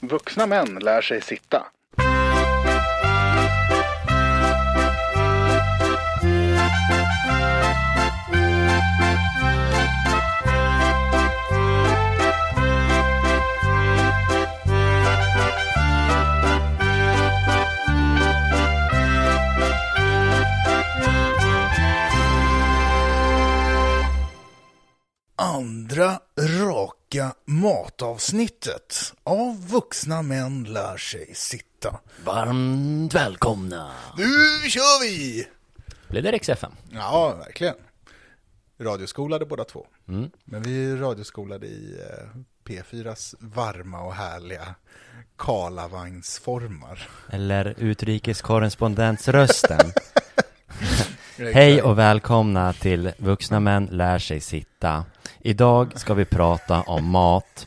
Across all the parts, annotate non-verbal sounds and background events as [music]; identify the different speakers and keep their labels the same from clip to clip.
Speaker 1: Vuxna män lär sig sitta.
Speaker 2: andra raka matavsnittet av Vuxna män lär sig sitta.
Speaker 3: Varmt välkomna!
Speaker 2: Nu kör vi!
Speaker 3: Blev det Rix FM?
Speaker 2: Ja, verkligen. Radioskolade båda två. Men vi är radioskolade i eh, P4s varma och härliga Karlavagnsformar.
Speaker 4: Eller
Speaker 3: [laughs]
Speaker 4: utrikeskorrespondentsrösten. [laughs] Hej och välkomna till Vuxna män lär sig sitta. Idag ska vi prata om mat,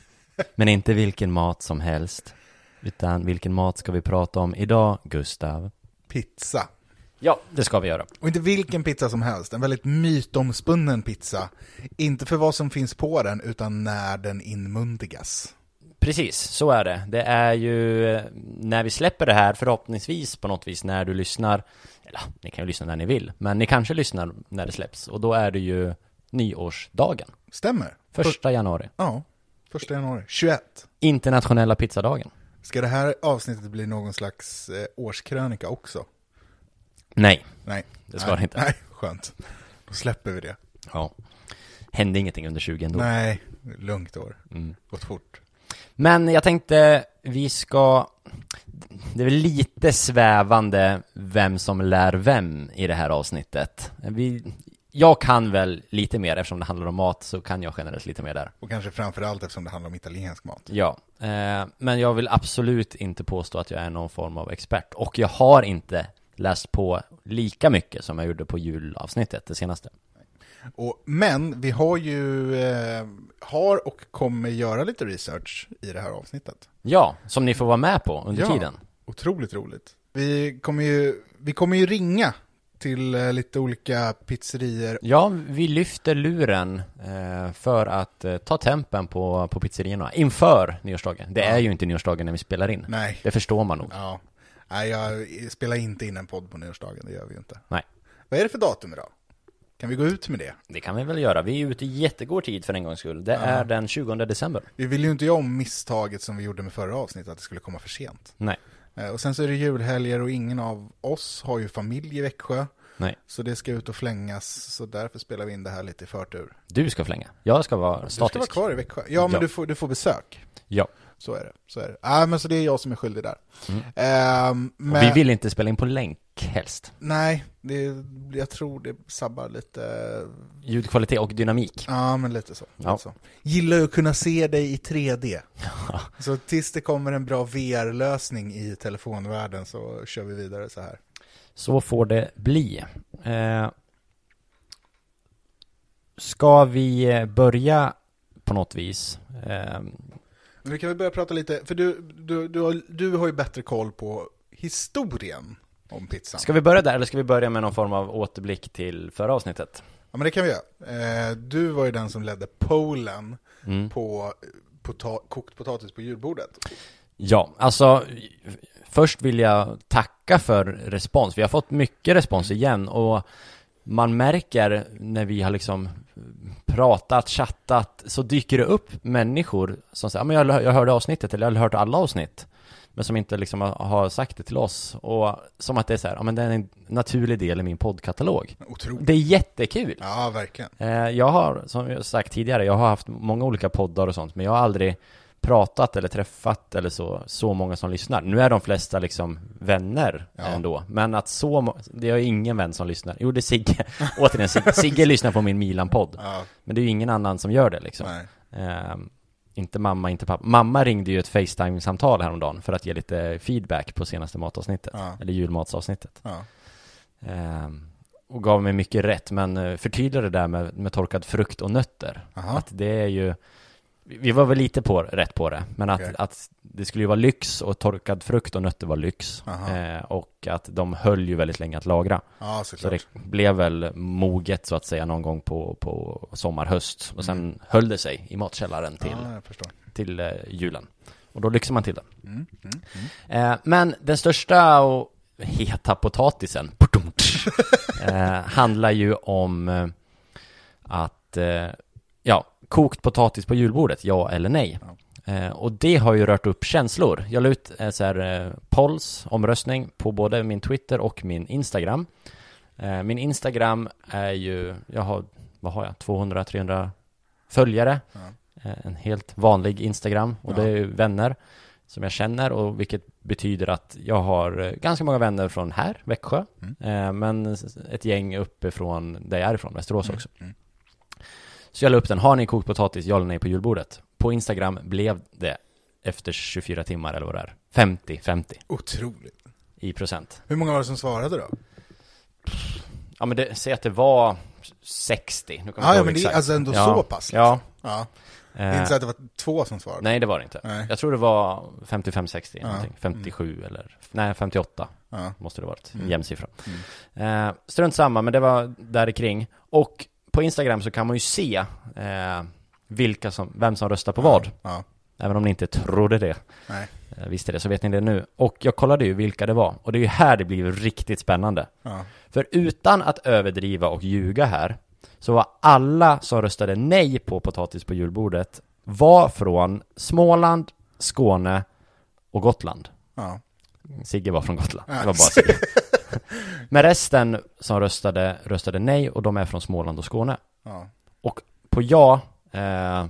Speaker 4: men inte vilken mat som helst. Utan vilken mat ska vi prata om idag, Gustav?
Speaker 2: Pizza.
Speaker 3: Ja, det ska vi göra.
Speaker 2: Och inte vilken pizza som helst, en väldigt mytomspunnen pizza. Inte för vad som finns på den, utan när den inmundigas.
Speaker 3: Precis, så är det. Det är ju eh, när vi släpper det här, förhoppningsvis på något vis när du lyssnar, eller ni kan ju lyssna när ni vill, men ni kanske lyssnar när det släpps och då är det ju nyårsdagen,
Speaker 2: Stämmer.
Speaker 3: första januari,
Speaker 2: Ja, första januari. 21.
Speaker 3: internationella pizzadagen.
Speaker 2: Ska det här avsnittet bli någon slags eh, årskrönika också?
Speaker 3: Nej,
Speaker 2: Nej.
Speaker 3: Det ska
Speaker 2: nej,
Speaker 3: det inte.
Speaker 2: Nej, skönt. Då släpper vi det.
Speaker 3: ja, hände ingenting under 20 ändå.
Speaker 2: Nej, lugnt år.
Speaker 3: Mm.
Speaker 2: Gått fort.
Speaker 3: Men jag tänkte vi ska Det är väl lite svävande vem som lär vem i det här avsnittet vi, Jag kan väl lite mer eftersom det handlar om mat så kan jag generellt lite mer där
Speaker 2: Och kanske framför allt eftersom det handlar om italiensk mat.
Speaker 3: Ja, eh, men jag vill absolut inte påstå att jag är någon form av expert och jag har inte läst på lika mycket som jag gjorde på julavsnittet, det senaste
Speaker 2: Och, men vi har ju, eh, har och kommer göra lite research i det här avsnittet.
Speaker 3: Ja, som ni får vara med på under tiden
Speaker 2: Otroligt roligt. Vi kommer ju, vi kommer ju ringa till eh, lite olika pizzerier.
Speaker 3: Ja, vi lyfter luren eh, för att eh, ta tempen på, på pizzerierna inför nyårsdagen. Det är ju inte nyårsdagen när vi spelar in.
Speaker 2: Nej.
Speaker 3: Det förstår man nog.
Speaker 2: Ja. Nej, jag spelar inte in en podd på nyårsdagen, det gör vi ju inte.
Speaker 3: Nej,
Speaker 2: Vad är det för datum idag? Kan vi gå ut med det?
Speaker 3: det kan vi väl göra. Vi är ute i jättegod tid för en gångs skull. Det är den 20 december.
Speaker 2: Vi vill ju inte göra om misstaget som vi gjorde med förra avsnittet, att det skulle komma för sent.
Speaker 3: Nej,
Speaker 2: Eh, Och sen så är det julhelger och ingen av oss har ju familj i Växjö.
Speaker 3: nej.
Speaker 2: Så det ska ut och flängas, så därför spelar vi in det här lite i förtur.
Speaker 3: Du ska flänga. Jag ska vara
Speaker 2: Du ska
Speaker 3: statisk.
Speaker 2: vara kvar i Växjö. Ja, men
Speaker 3: Ja.
Speaker 2: Du, får, du får besök.
Speaker 3: Ja.
Speaker 2: Så är det. Så är det. Ah, men så det är jag som är skyldig där. Ehm, men,
Speaker 3: Och Mm. vi vill inte spela in på länk helst.
Speaker 2: Nej, det, jag tror det sabbar lite.
Speaker 3: Ljudkvalitet och dynamik.
Speaker 2: Ja, men lite så.
Speaker 3: Ja.
Speaker 2: Lite så. Gillar ju att kunna se dig i 3D. Så tills det kommer en bra VR-lösning i telefonvärlden så kör vi vidare så här.
Speaker 3: Så får det bli. Eh, ska vi eh, börja på något vis? Eh,
Speaker 2: Men nu kan vi börja prata lite, för du, du, du, har, du har ju bättre koll på historien om pizzan.
Speaker 3: Ska vi börja där eller ska vi börja med någon form av återblick till förra avsnittet?
Speaker 2: Ja, men det kan vi göra. Eh, du var ju den som ledde pollen på pota- kokt potatis på julbordet.
Speaker 3: Ja, alltså först vill jag tacka för respons. Vi har fått mycket respons igen och man märker när vi har liksom pratat, chattat, så dyker det upp människor som säger "Ja, men jag, jag hörde avsnittet eller jag har hört alla avsnitt. Men som inte liksom har- har sagt det till oss. Och som att det är så här, ja men det är en naturlig del i min poddkatalog.
Speaker 2: Otroligt.
Speaker 3: Det är jättekul.
Speaker 2: Ja, verkligen.
Speaker 3: Eh, Jag har, som jag sagt tidigare, jag har haft många olika poddar och sånt, men jag har aldrig pratat eller träffat eller så, så många som lyssnar. Nu är de flesta liksom vänner ändå, men att så må- det är ingen vän som lyssnar. Jo, det är Sigge. [laughs] Återigen, Sigge, Sigge lyssnar på min Milan-podd.
Speaker 2: Ja.
Speaker 3: Men det är ju ingen annan som gör det liksom.
Speaker 2: Nej.
Speaker 3: Ehm, inte mamma, inte pappa. Mamma ringde ju ett Facetime-samtal häromdagen för att ge lite feedback på senaste matavsnittet,
Speaker 2: Ja.
Speaker 3: eller julmatsavsnittet.
Speaker 2: Ja.
Speaker 3: Ehm, och gav mig mycket rätt, men eh, förtydligade det där med, med torkad frukt och nötter.
Speaker 2: Aha.
Speaker 3: Att det är ju, vi vi var väl lite på, rätt på det, men att,
Speaker 2: Okej.
Speaker 3: att det skulle ju vara lyx och torkad frukt och nötter var lyx.
Speaker 2: Aha.
Speaker 3: Eh, och att de höll ju väldigt länge att lagra.
Speaker 2: ja,
Speaker 3: Så
Speaker 2: såklart.
Speaker 3: det blev väl moget så att säga någon gång på,
Speaker 2: Mm.
Speaker 3: på sommar, höst. Och sen höll det sig i matkällaren till,
Speaker 2: Ja, jag förstår.
Speaker 3: till eh, julen. Och då lyxar man till det.
Speaker 2: Mm. Mm. Mm.
Speaker 3: Eh, men den största och heta potatisen [laughs] eh, handlar ju om eh, att, eh, ja, kokt potatis på julbordet, ja eller nej. Eh, och det har ju rört upp känslor. Jag la ut eh, så här, eh, polls, omröstning, på både min Twitter och min Instagram. Eh, min Instagram är ju, jag har, vad har jag, 200-300 följare.
Speaker 2: Ja.
Speaker 3: Eh, en helt vanlig Instagram och
Speaker 2: Ja.
Speaker 3: det är ju vänner som jag känner och vilket betyder att jag har eh, ganska många vänner från här, Växjö,
Speaker 2: Mm.
Speaker 3: eh, men s- ett gäng uppifrån där jag är ifrån, Västerås
Speaker 2: Mm,
Speaker 3: också.
Speaker 2: mm.
Speaker 3: Så jag la upp den, har ni kokt potatis, ja eller nej på julbordet? På Instagram blev det efter 24 timmar eller vad det är, 50-50
Speaker 2: Otroligt.
Speaker 3: i procent.
Speaker 2: Hur många var det som svarade då?
Speaker 3: Ja men det, säg att det var 60, nu kommer
Speaker 2: Ja,
Speaker 3: jag
Speaker 2: ja,
Speaker 3: inte ihåg
Speaker 2: men det är
Speaker 3: exakt.
Speaker 2: alltså ändå
Speaker 3: Ja,
Speaker 2: så pass. Liksom.
Speaker 3: Ja,
Speaker 2: ja. Det är
Speaker 3: eh,
Speaker 2: inte så att det var två som svarade.
Speaker 3: nej det var det inte.
Speaker 2: Nej.
Speaker 3: Jag tror det var 55-60
Speaker 2: Ja. Mm.
Speaker 3: någonting, 57 eller, nej 58
Speaker 2: Ja.
Speaker 3: måste det varit,
Speaker 2: Mm.
Speaker 3: en jämn siffra. Eh, strunt samma, men det var där kring. Och på Instagram så kan man ju se eh, vilka som, vem som röstar på vad.
Speaker 2: Ja.
Speaker 3: Även om ni inte trodde det,
Speaker 2: Nej.
Speaker 3: eh, visste det, så vet ni det nu. Och jag kollade ju vilka det var, och det är ju här det blir riktigt spännande.
Speaker 2: Ja.
Speaker 3: För utan att överdriva och ljuga här, så var alla som röstade nej på potatis på julbordet var från Småland, Skåne och Gotland.
Speaker 2: Ja.
Speaker 3: Sigge var från Gotland.
Speaker 2: Ja.
Speaker 3: Det var bara Sigge.
Speaker 2: [laughs]
Speaker 3: Men resten som röstade, röstade nej och de är från Småland och Skåne.
Speaker 2: Ja.
Speaker 3: Och på ja, eh,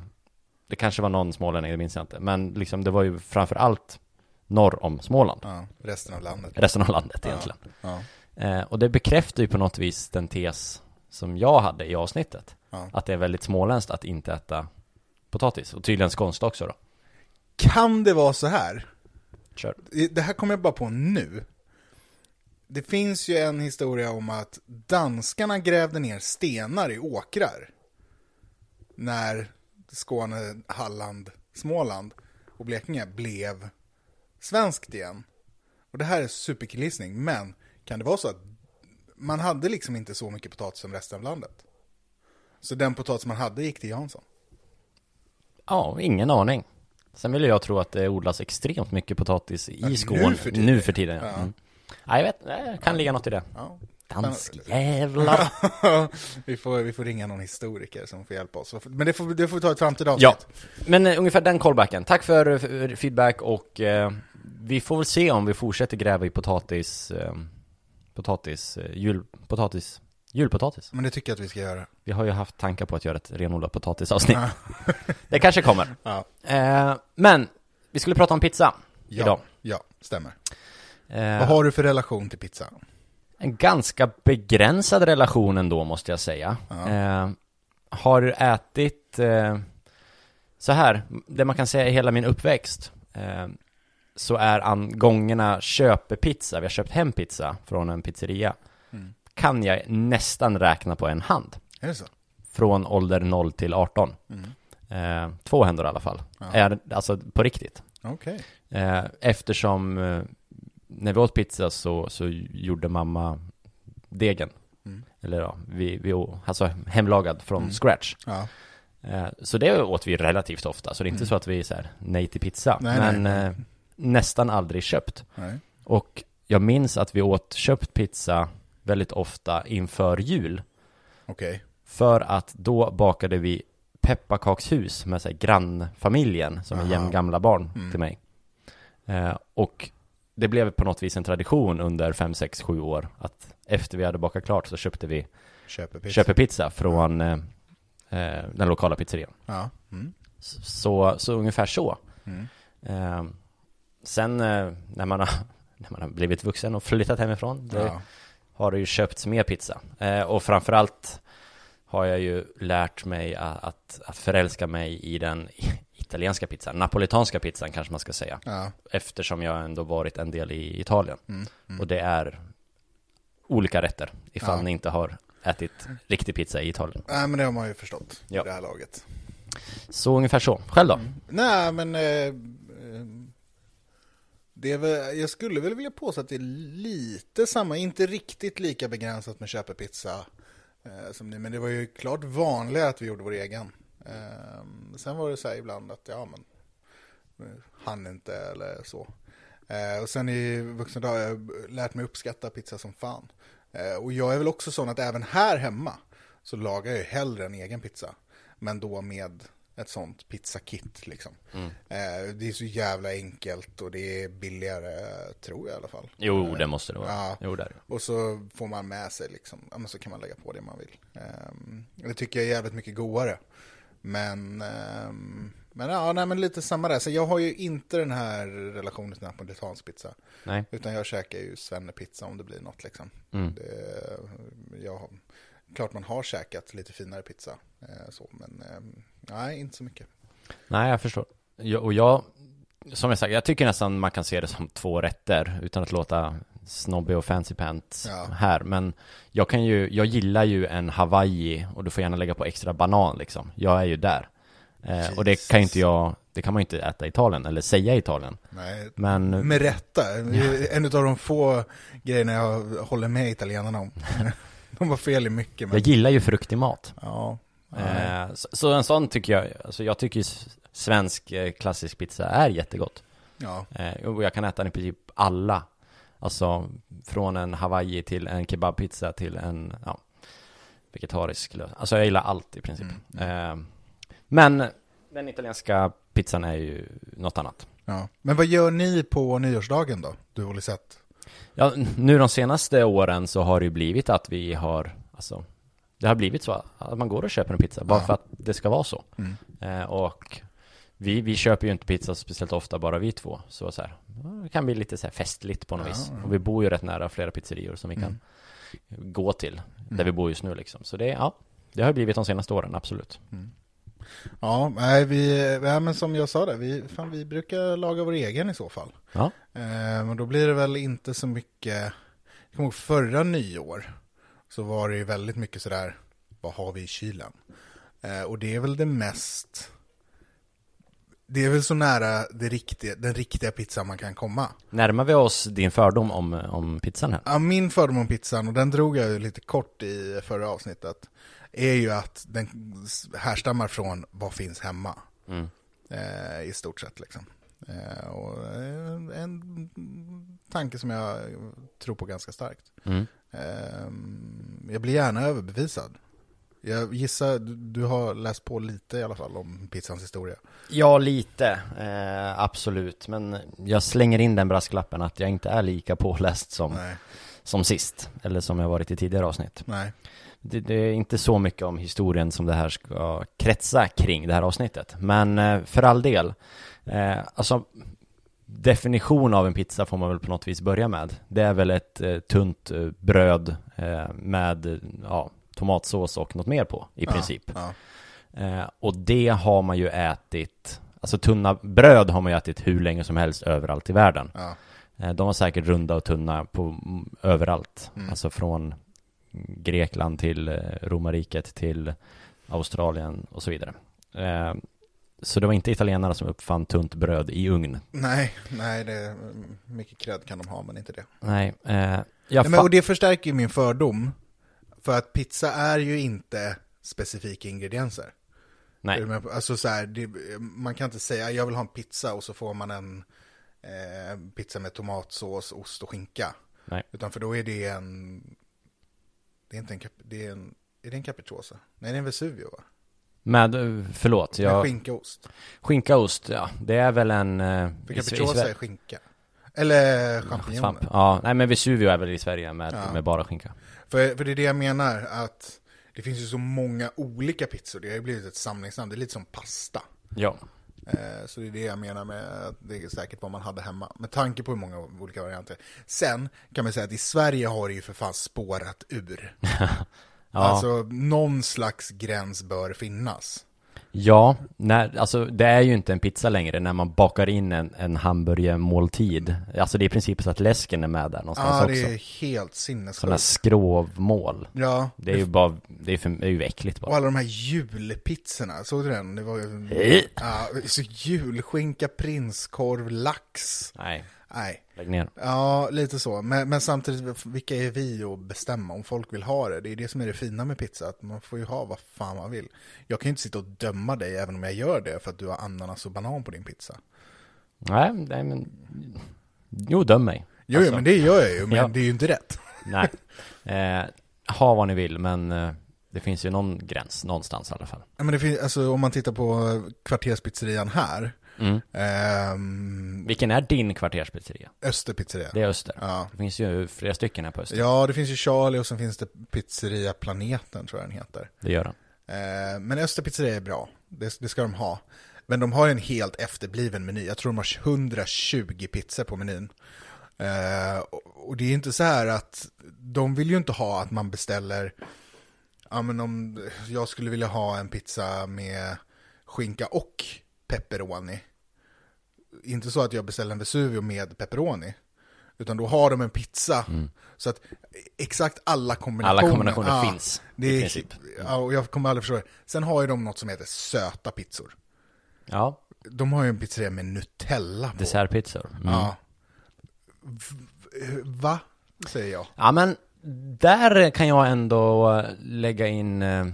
Speaker 3: det kanske var någon smålänning, det minns jag inte. Men liksom det var ju framför allt norr om Småland.
Speaker 2: ja. Resten av landet.
Speaker 3: Resten av landet
Speaker 2: Ja.
Speaker 3: egentligen.
Speaker 2: Ja.
Speaker 3: Eh, och det bekräftar ju på något vis den tes som jag hade i avsnittet.
Speaker 2: Ja.
Speaker 3: Att det är väldigt småländskt att inte äta potatis. Och tydligen skånskt också då.
Speaker 2: Kan det vara så här?
Speaker 3: Kör.
Speaker 2: Det här kommer jag bara på nu. Det finns ju en historia om att danskarna grävde ner stenar i åkrar. När Skåne, Halland, Småland och Blekinge blev svenskt igen. Och det här är superkillgissning, men kan det vara så att man hade liksom inte så mycket potatis som resten av landet? Så den potatis man hade gick till Jansson? [laughs]
Speaker 3: Ja, ingen aning. Sen vill jag tro att det odlas extremt mycket potatis i
Speaker 2: nu
Speaker 3: Skåne.
Speaker 2: för tiden.
Speaker 3: Nu för tiden, ja.
Speaker 2: Ja.
Speaker 3: Mm. ja jag vet, det kan ligga något i det.
Speaker 2: Ja.
Speaker 3: Danskjävlar.
Speaker 2: vi, får, vi får ringa någon historiker som får hjälpa oss. Men det får, det får vi ta i ett framtida avsnitt.
Speaker 3: Ja, [laughs] men eh, ungefär den callbacken. Tack för eh, för feedback och eh, vi får väl se om vi fortsätter gräva i potatis, eh, potatis, eh, jul, potatis, julpotatis.
Speaker 2: Men det tycker jag att vi ska göra.
Speaker 3: Vi har ju haft tankar på att göra ett renodlat potatisavsnitt. [laughs] Det kanske kommer.
Speaker 2: Ja.
Speaker 3: Eh, men vi skulle prata om pizza
Speaker 2: Ja,
Speaker 3: idag.
Speaker 2: ja stämmer.
Speaker 3: Eh,
Speaker 2: Vad har du för relation till pizza?
Speaker 3: En ganska begränsad relation ändå måste jag säga. Eh, har ätit eh, så här, det man kan säga i hela min uppväxt eh, så är an, gångerna köpepizza, vi har köpt hem pizza från en pizzeria, kan jag nästan räkna på en hand.
Speaker 2: Är det så? Mm.
Speaker 3: Från ålder 0 till 18. Eh, två händer i alla fall. Är, alltså på riktigt.
Speaker 2: Okej.
Speaker 3: Eh, eftersom eh, när vi åt pizza så, så gjorde mamma degen.
Speaker 2: Mm.
Speaker 3: Eller ja, vi, vi å- alltså hemlagad från scratch.
Speaker 2: Ja.
Speaker 3: Eh, så det åt vi relativt ofta, så det är inte så att vi är så här, nej till pizza.
Speaker 2: Mm. Nej,
Speaker 3: men
Speaker 2: nej.
Speaker 3: Eh, nästan aldrig köpt.
Speaker 2: Nej.
Speaker 3: Och jag minns att vi åt köpt pizza väldigt ofta inför jul.
Speaker 2: Okej.
Speaker 3: För att då bakade vi pepparkakshus med så här, grannfamiljen som är
Speaker 2: Aha.
Speaker 3: jämngamla barn
Speaker 2: Mm.
Speaker 3: till mig. Eh, och det blev på något vis en tradition under 5, 6, 7 år att efter vi hade bakat klart så köpte vi
Speaker 2: Köper pizza.
Speaker 3: köpepizza från eh, eh, den lokala pizzerian.
Speaker 2: Ja. Mm.
Speaker 3: S- Så, så ungefär så.
Speaker 2: Mm.
Speaker 3: Eh, sen eh, när, man har, [laughs] när man har blivit vuxen och flyttat hemifrån, det,
Speaker 2: Ja.
Speaker 3: har det ju köpts mer pizza. Eh, och framförallt har jag ju lärt mig att, att, att förälska mig i den [laughs] italienska pizzan, napolitanska pizzan kanske man ska säga,
Speaker 2: Ja.
Speaker 3: eftersom jag ändå varit en del i Italien.
Speaker 2: Mm. Mm.
Speaker 3: Och det är olika rätter, ifall
Speaker 2: Ja.
Speaker 3: ni inte har ätit riktig pizza i Italien.
Speaker 2: Nej, men det har man ju förstått
Speaker 3: Ja.
Speaker 2: i det här laget.
Speaker 3: Så ungefär så. Själv då?
Speaker 2: Mm. Nej, men... Eh, eh, det är väl, jag skulle väl vilja påstå att det är lite samma, inte riktigt lika begränsat med köpepizza eh, som ni, men det var ju klart Ehm, vanligare att vi gjorde vår egen. Eh, sen var det så här ibland att, ja men, Han inte eller så. Eh, och sen i vuxen dag har jag lärt mig uppskatta pizza som fan. Eh, och jag är väl också sån att även här hemma så lagar jag ju hellre en egen pizza. Men då med ett sånt pizzakit liksom. Eh, det är så jävla enkelt och det är billigare, tror jag i alla fall.
Speaker 3: Jo, det måste det vara.
Speaker 2: Ja.
Speaker 3: Jo, där.
Speaker 2: Och så får man med sig liksom, ja men så kan man lägga på det man vill. Ehm, det tycker jag är jävligt mycket godare. Men, ehm, men ja, nej men lite samma där. Så jag har ju inte den här relationen till napolitansk pizza.
Speaker 3: Nej. Mm.
Speaker 2: Utan jag käkar ju svennepizza om det blir något liksom. Det, jag, har- klart man har käkat lite finare pizza. eh, så, men ehm, nej, inte så mycket.
Speaker 3: Nej, jag förstår. Jag, och jag, som jag sagt, jag tycker nästan man kan se det som två rätter utan att låta snobbig och fancy pants
Speaker 2: Ja.
Speaker 3: här. Men jag kan ju, jag gillar ju en hawaii och du får gärna lägga på extra banan liksom. Jag är ju där. Eh, och det kan ju inte jag, det kan man ju inte äta i Italien eller säga i Italien.
Speaker 2: Nej,
Speaker 3: Men
Speaker 2: med rätta. En av de få grejerna jag håller med italienarna om. De var fel i mycket.
Speaker 3: jag
Speaker 2: Men...
Speaker 3: gillar ju fruktig mat.
Speaker 2: Ja.
Speaker 3: Eh, så, så en sån tycker jag, alltså jag tycker ju s- svensk eh, klassisk pizza är jättegott.
Speaker 2: ja.
Speaker 3: Eh, och jag kan äta den i princip alla. Alltså från en hawaii till en kebabpizza till en ja, vegetarisk lö- Alltså jag gillar allt i princip. Eh, men den italienska pizzan är ju något annat.
Speaker 2: ja. Men vad gör ni på nyårsdagen då? Du och Lisette?
Speaker 3: Ja, n- nu de senaste åren så har det ju blivit att vi har, alltså det har blivit så att man går och köper en pizza bara
Speaker 2: Ja.
Speaker 3: för att det ska vara så. Eh, och vi, vi köper ju inte pizza speciellt ofta, bara vi två. Så, så här, det kan bli lite så här festligt på något vis. Och vi bor ju rätt nära flera pizzerior som vi kan gå till, där vi bor just nu liksom. Så det, ja, det har ju blivit de senaste åren, absolut.
Speaker 2: Ja, nej, vi, ja, men som jag sa där, vi, fan, vi brukar laga vår egen i så fall.
Speaker 3: Ja,
Speaker 2: Eh, men då blir det väl inte så mycket, jag kommer ihåg förra nyår, så var det ju väldigt mycket sådär, vad har vi i kylen? Eh, och det är väl det mest, det är väl så nära det riktiga, den riktiga pizzan man kan komma.
Speaker 3: närmar vi oss din fördom om, om pizzan här?
Speaker 2: Ja, min fördom om pizzan, och den drog jag ju lite kort i förra avsnittet, är ju att den härstammar från vad finns hemma. Eh, I stort sett liksom. Eh, och eh, en tanke som jag tror på ganska starkt.
Speaker 3: Mm.
Speaker 2: Eh, jag blir gärna överbevisad. Jag gissar, du- du har läst på lite i alla fall om pizzans historia.
Speaker 3: Ja, lite. Eh, absolut. Men jag slänger in den brasklappen att jag inte är lika påläst som,
Speaker 2: Nej,
Speaker 3: som sist. Eller som jag varit i tidigare avsnitt.
Speaker 2: nej.
Speaker 3: Det, det är inte så mycket om historien som det här ska kretsa kring det här avsnittet. Men eh, för all del. Eh, alltså, definition av en pizza får man väl på något vis börja med. Det är väl ett eh, tunt eh, bröd eh, med eh, ja, tomatsås och något mer på i princip.
Speaker 2: Ja,
Speaker 3: Eh, och det har man ju ätit, alltså tunna bröd har man ju ätit hur länge som helst överallt i världen.
Speaker 2: ja,
Speaker 3: Eh, de var säkert runda och tunna på, mm, överallt, alltså från Grekland till eh, romarriket till Australien och så vidare. Eh, så det var inte italienarna som uppfann tunt bröd i ugn.
Speaker 2: Nej, nej, det, mycket cred kan de ha, men inte det.
Speaker 3: Nej, eh, jag
Speaker 2: Nej, men, och
Speaker 3: fa-
Speaker 2: det förstärker ju min fördom. För att pizza är ju inte specifika ingredienser. Är
Speaker 3: nej,
Speaker 2: du med på- Alltså så här, det, man kan inte säga jag vill ha en pizza och så får man en eh, pizza med tomatsås, ost och skinka.
Speaker 3: nej.
Speaker 2: Utan för då är det en... Det är inte en... cap- Det är, en, är det en capricciosa? Nej, det är en Vesuvio va?
Speaker 3: Med, eh, förlåt,
Speaker 2: Med
Speaker 3: jag,
Speaker 2: skinka och ost.
Speaker 3: skinkaost, ja, det är väl en... Eh,
Speaker 2: För
Speaker 3: i Sve- i
Speaker 2: capricciosa
Speaker 3: Sve-
Speaker 2: är skinka. Eller
Speaker 3: svamp.
Speaker 2: champinjoner.
Speaker 3: Ja, nej men Vesuvio är väl i Sverige med,
Speaker 2: Ja.
Speaker 3: med bara skinka.
Speaker 2: För, för det är det jag menar, att det finns ju så många olika pizzor. Det har ju blivit ett samlingsnamn. Det är lite som pasta.
Speaker 3: Ja,
Speaker 2: Eh, Så det är det jag menar med att det är säkert vad man hade hemma. Med tanke på hur många olika varianter. Sen kan man säga att i Sverige har det ju för fan spårat ur. Alltså någon slags gräns bör finnas.
Speaker 3: ja när, alltså det är ju inte en pizza längre när man bakar in en, en hamburgermåltid. Alltså det är i princip så att läsken är med där någonstans
Speaker 2: Ja, Ah, det
Speaker 3: också.
Speaker 2: är helt
Speaker 3: Sådana här
Speaker 2: sinnessjukt.
Speaker 3: skrovmål.
Speaker 2: Ja,
Speaker 3: Det är ju bara, det är, för, det är ju äckligt
Speaker 2: och
Speaker 3: bara.
Speaker 2: alla de här julpizzorna, såg du den? Det var ju...
Speaker 3: Eh.
Speaker 2: Ja, så julskinka, prinskorv, lax.
Speaker 3: Nej,
Speaker 2: Nej.
Speaker 3: lägg ner.
Speaker 2: Ja, lite så. Men, men samtidigt, vilka är vi att bestämma om folk vill ha det? Det är det som är det fina med pizza, att man får ju ha vad fan man vill. Jag kan ju inte sitta och döma dig även om jag gör det för att du har ananas och banan på din pizza.
Speaker 3: Nej, nej men... Jo, döm mig.
Speaker 2: Jo,
Speaker 3: Alltså.
Speaker 2: men det gör jag ju, men
Speaker 3: Ja.
Speaker 2: det är ju inte rätt. [laughs]
Speaker 3: Nej. Eh, ha vad ni vill, men eh, det finns ju någon gräns någonstans i alla fall.
Speaker 2: Ja, Men det finns, alltså, om man tittar på kvarterspizzerian här,
Speaker 3: Mm.
Speaker 2: ehm,
Speaker 3: Vilken är din kvarterspizzeria?
Speaker 2: Österpizzeria.
Speaker 3: Det är Öster.
Speaker 2: Ja.
Speaker 3: Det finns ju flera stycken här på Öster.
Speaker 2: ja, det finns ju Charlie och sen finns det Pizzeria Planeten tror jag den heter.
Speaker 3: Det gör den.
Speaker 2: Eh, men Österpizzeria är bra, det, det ska de ha. Men de har ju en helt efterbliven meny, jag tror de har 120 pizzor på menyn. Eh, och, och det är ju inte så här att, de vill ju inte ha att man beställer, ja men om jag skulle vilja ha en pizza med skinka och pepperoni. Inte så att jag beställer en Vesuvio med pepperoni. Utan då har de en pizza. Så att exakt alla kombinationer,
Speaker 3: Mm. Alla kombinationer
Speaker 2: ja,
Speaker 3: finns,
Speaker 2: det
Speaker 3: i
Speaker 2: är,
Speaker 3: princip.
Speaker 2: Ja, och jag kommer aldrig förstå det. Sen har ju de något som heter söta pizzor.
Speaker 3: Ja,
Speaker 2: De har ju en pizzeria med Nutella på.
Speaker 3: dessertpizzor. Mm.
Speaker 2: Ja. V- va? Säger jag.
Speaker 3: Ja, men där kan jag ändå eh, lägga in... Eh,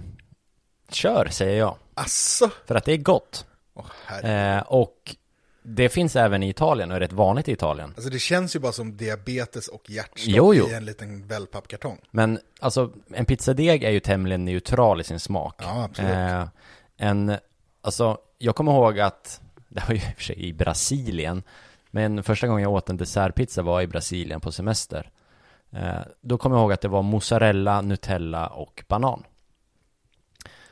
Speaker 3: kör, säger jag.
Speaker 2: Asså?
Speaker 3: För att det är gott.
Speaker 2: Åh, herre.
Speaker 3: Eh, och det finns även i Italien och är rätt vanligt i Italien.
Speaker 2: Alltså det känns ju bara som diabetes och hjärtstopp
Speaker 3: Jo, jo.
Speaker 2: i en liten wellpappkartong.
Speaker 3: Men alltså, en pizzadeg är ju tämligen neutral i sin smak.
Speaker 2: Ja, absolut.
Speaker 3: Eh, en, alltså, jag kommer ihåg att, [laughs] det var ju i och för sig i Brasilien, men första gången jag åt en dessertpizza var i Brasilien på semester. Eh, då kommer jag ihåg att det var mozzarella, nutella och banan.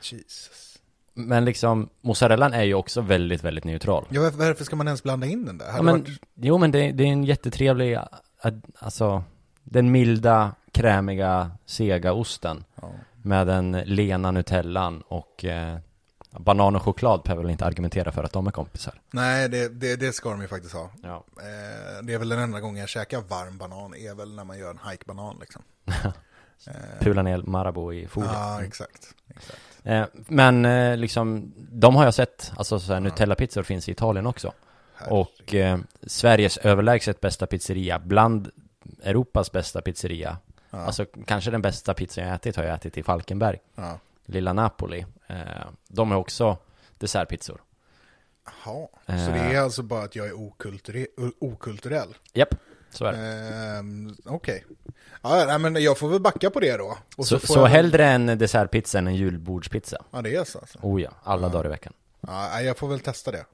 Speaker 2: Jesus.
Speaker 3: Men liksom, mozzarellan är ju också väldigt, väldigt neutral.
Speaker 2: Ja, varför, varför ska man ens blanda in den där? Hade
Speaker 3: Ja, men,
Speaker 2: varit...
Speaker 3: Jo, men det, det är en jättetrevlig, ad- alltså, den milda, krämiga, sega osten
Speaker 2: ja.
Speaker 3: med den lena nutellan och eh, banan och choklad behöver väl inte argumentera för att de är kompisar.
Speaker 2: Nej, det, det, det ska de ju faktiskt ha.
Speaker 3: Ja.
Speaker 2: Eh, det är väl den enda gången jag käkar varm banan, är väl när man gör en hajkbanan liksom.
Speaker 3: [laughs]
Speaker 2: eh,
Speaker 3: Pula ner Marabou i fodret.
Speaker 2: ja, exakt. exakt.
Speaker 3: Eh, men eh, liksom, de har jag sett, alltså så här, Nutella-pizzor finns i Italien också.
Speaker 2: Herregud.
Speaker 3: Och eh, Sveriges överlägset bästa pizzeria, bland Europas bästa pizzeria.
Speaker 2: Ja,
Speaker 3: Alltså kanske den bästa pizzan jag ätit har jag ätit i Falkenberg.
Speaker 2: ja.
Speaker 3: lilla Napoli. Eh, de är också dessertpizzor.
Speaker 2: Jaha, så
Speaker 3: Eh.
Speaker 2: det är alltså bara att jag är okulture- o- okulturell?
Speaker 3: Japp, så är
Speaker 2: Eh,
Speaker 3: det.
Speaker 2: Ehm, Okej. Ja, nej, men jag får väl backa på det då. Och
Speaker 3: så
Speaker 2: får
Speaker 3: så
Speaker 2: jag-
Speaker 3: hellre en dessertpizza än en julbordspizza.
Speaker 2: Ja, det är så alltså.
Speaker 3: Oh ja, alla dagar i veckan.
Speaker 2: Ja, nej, jag får väl testa det.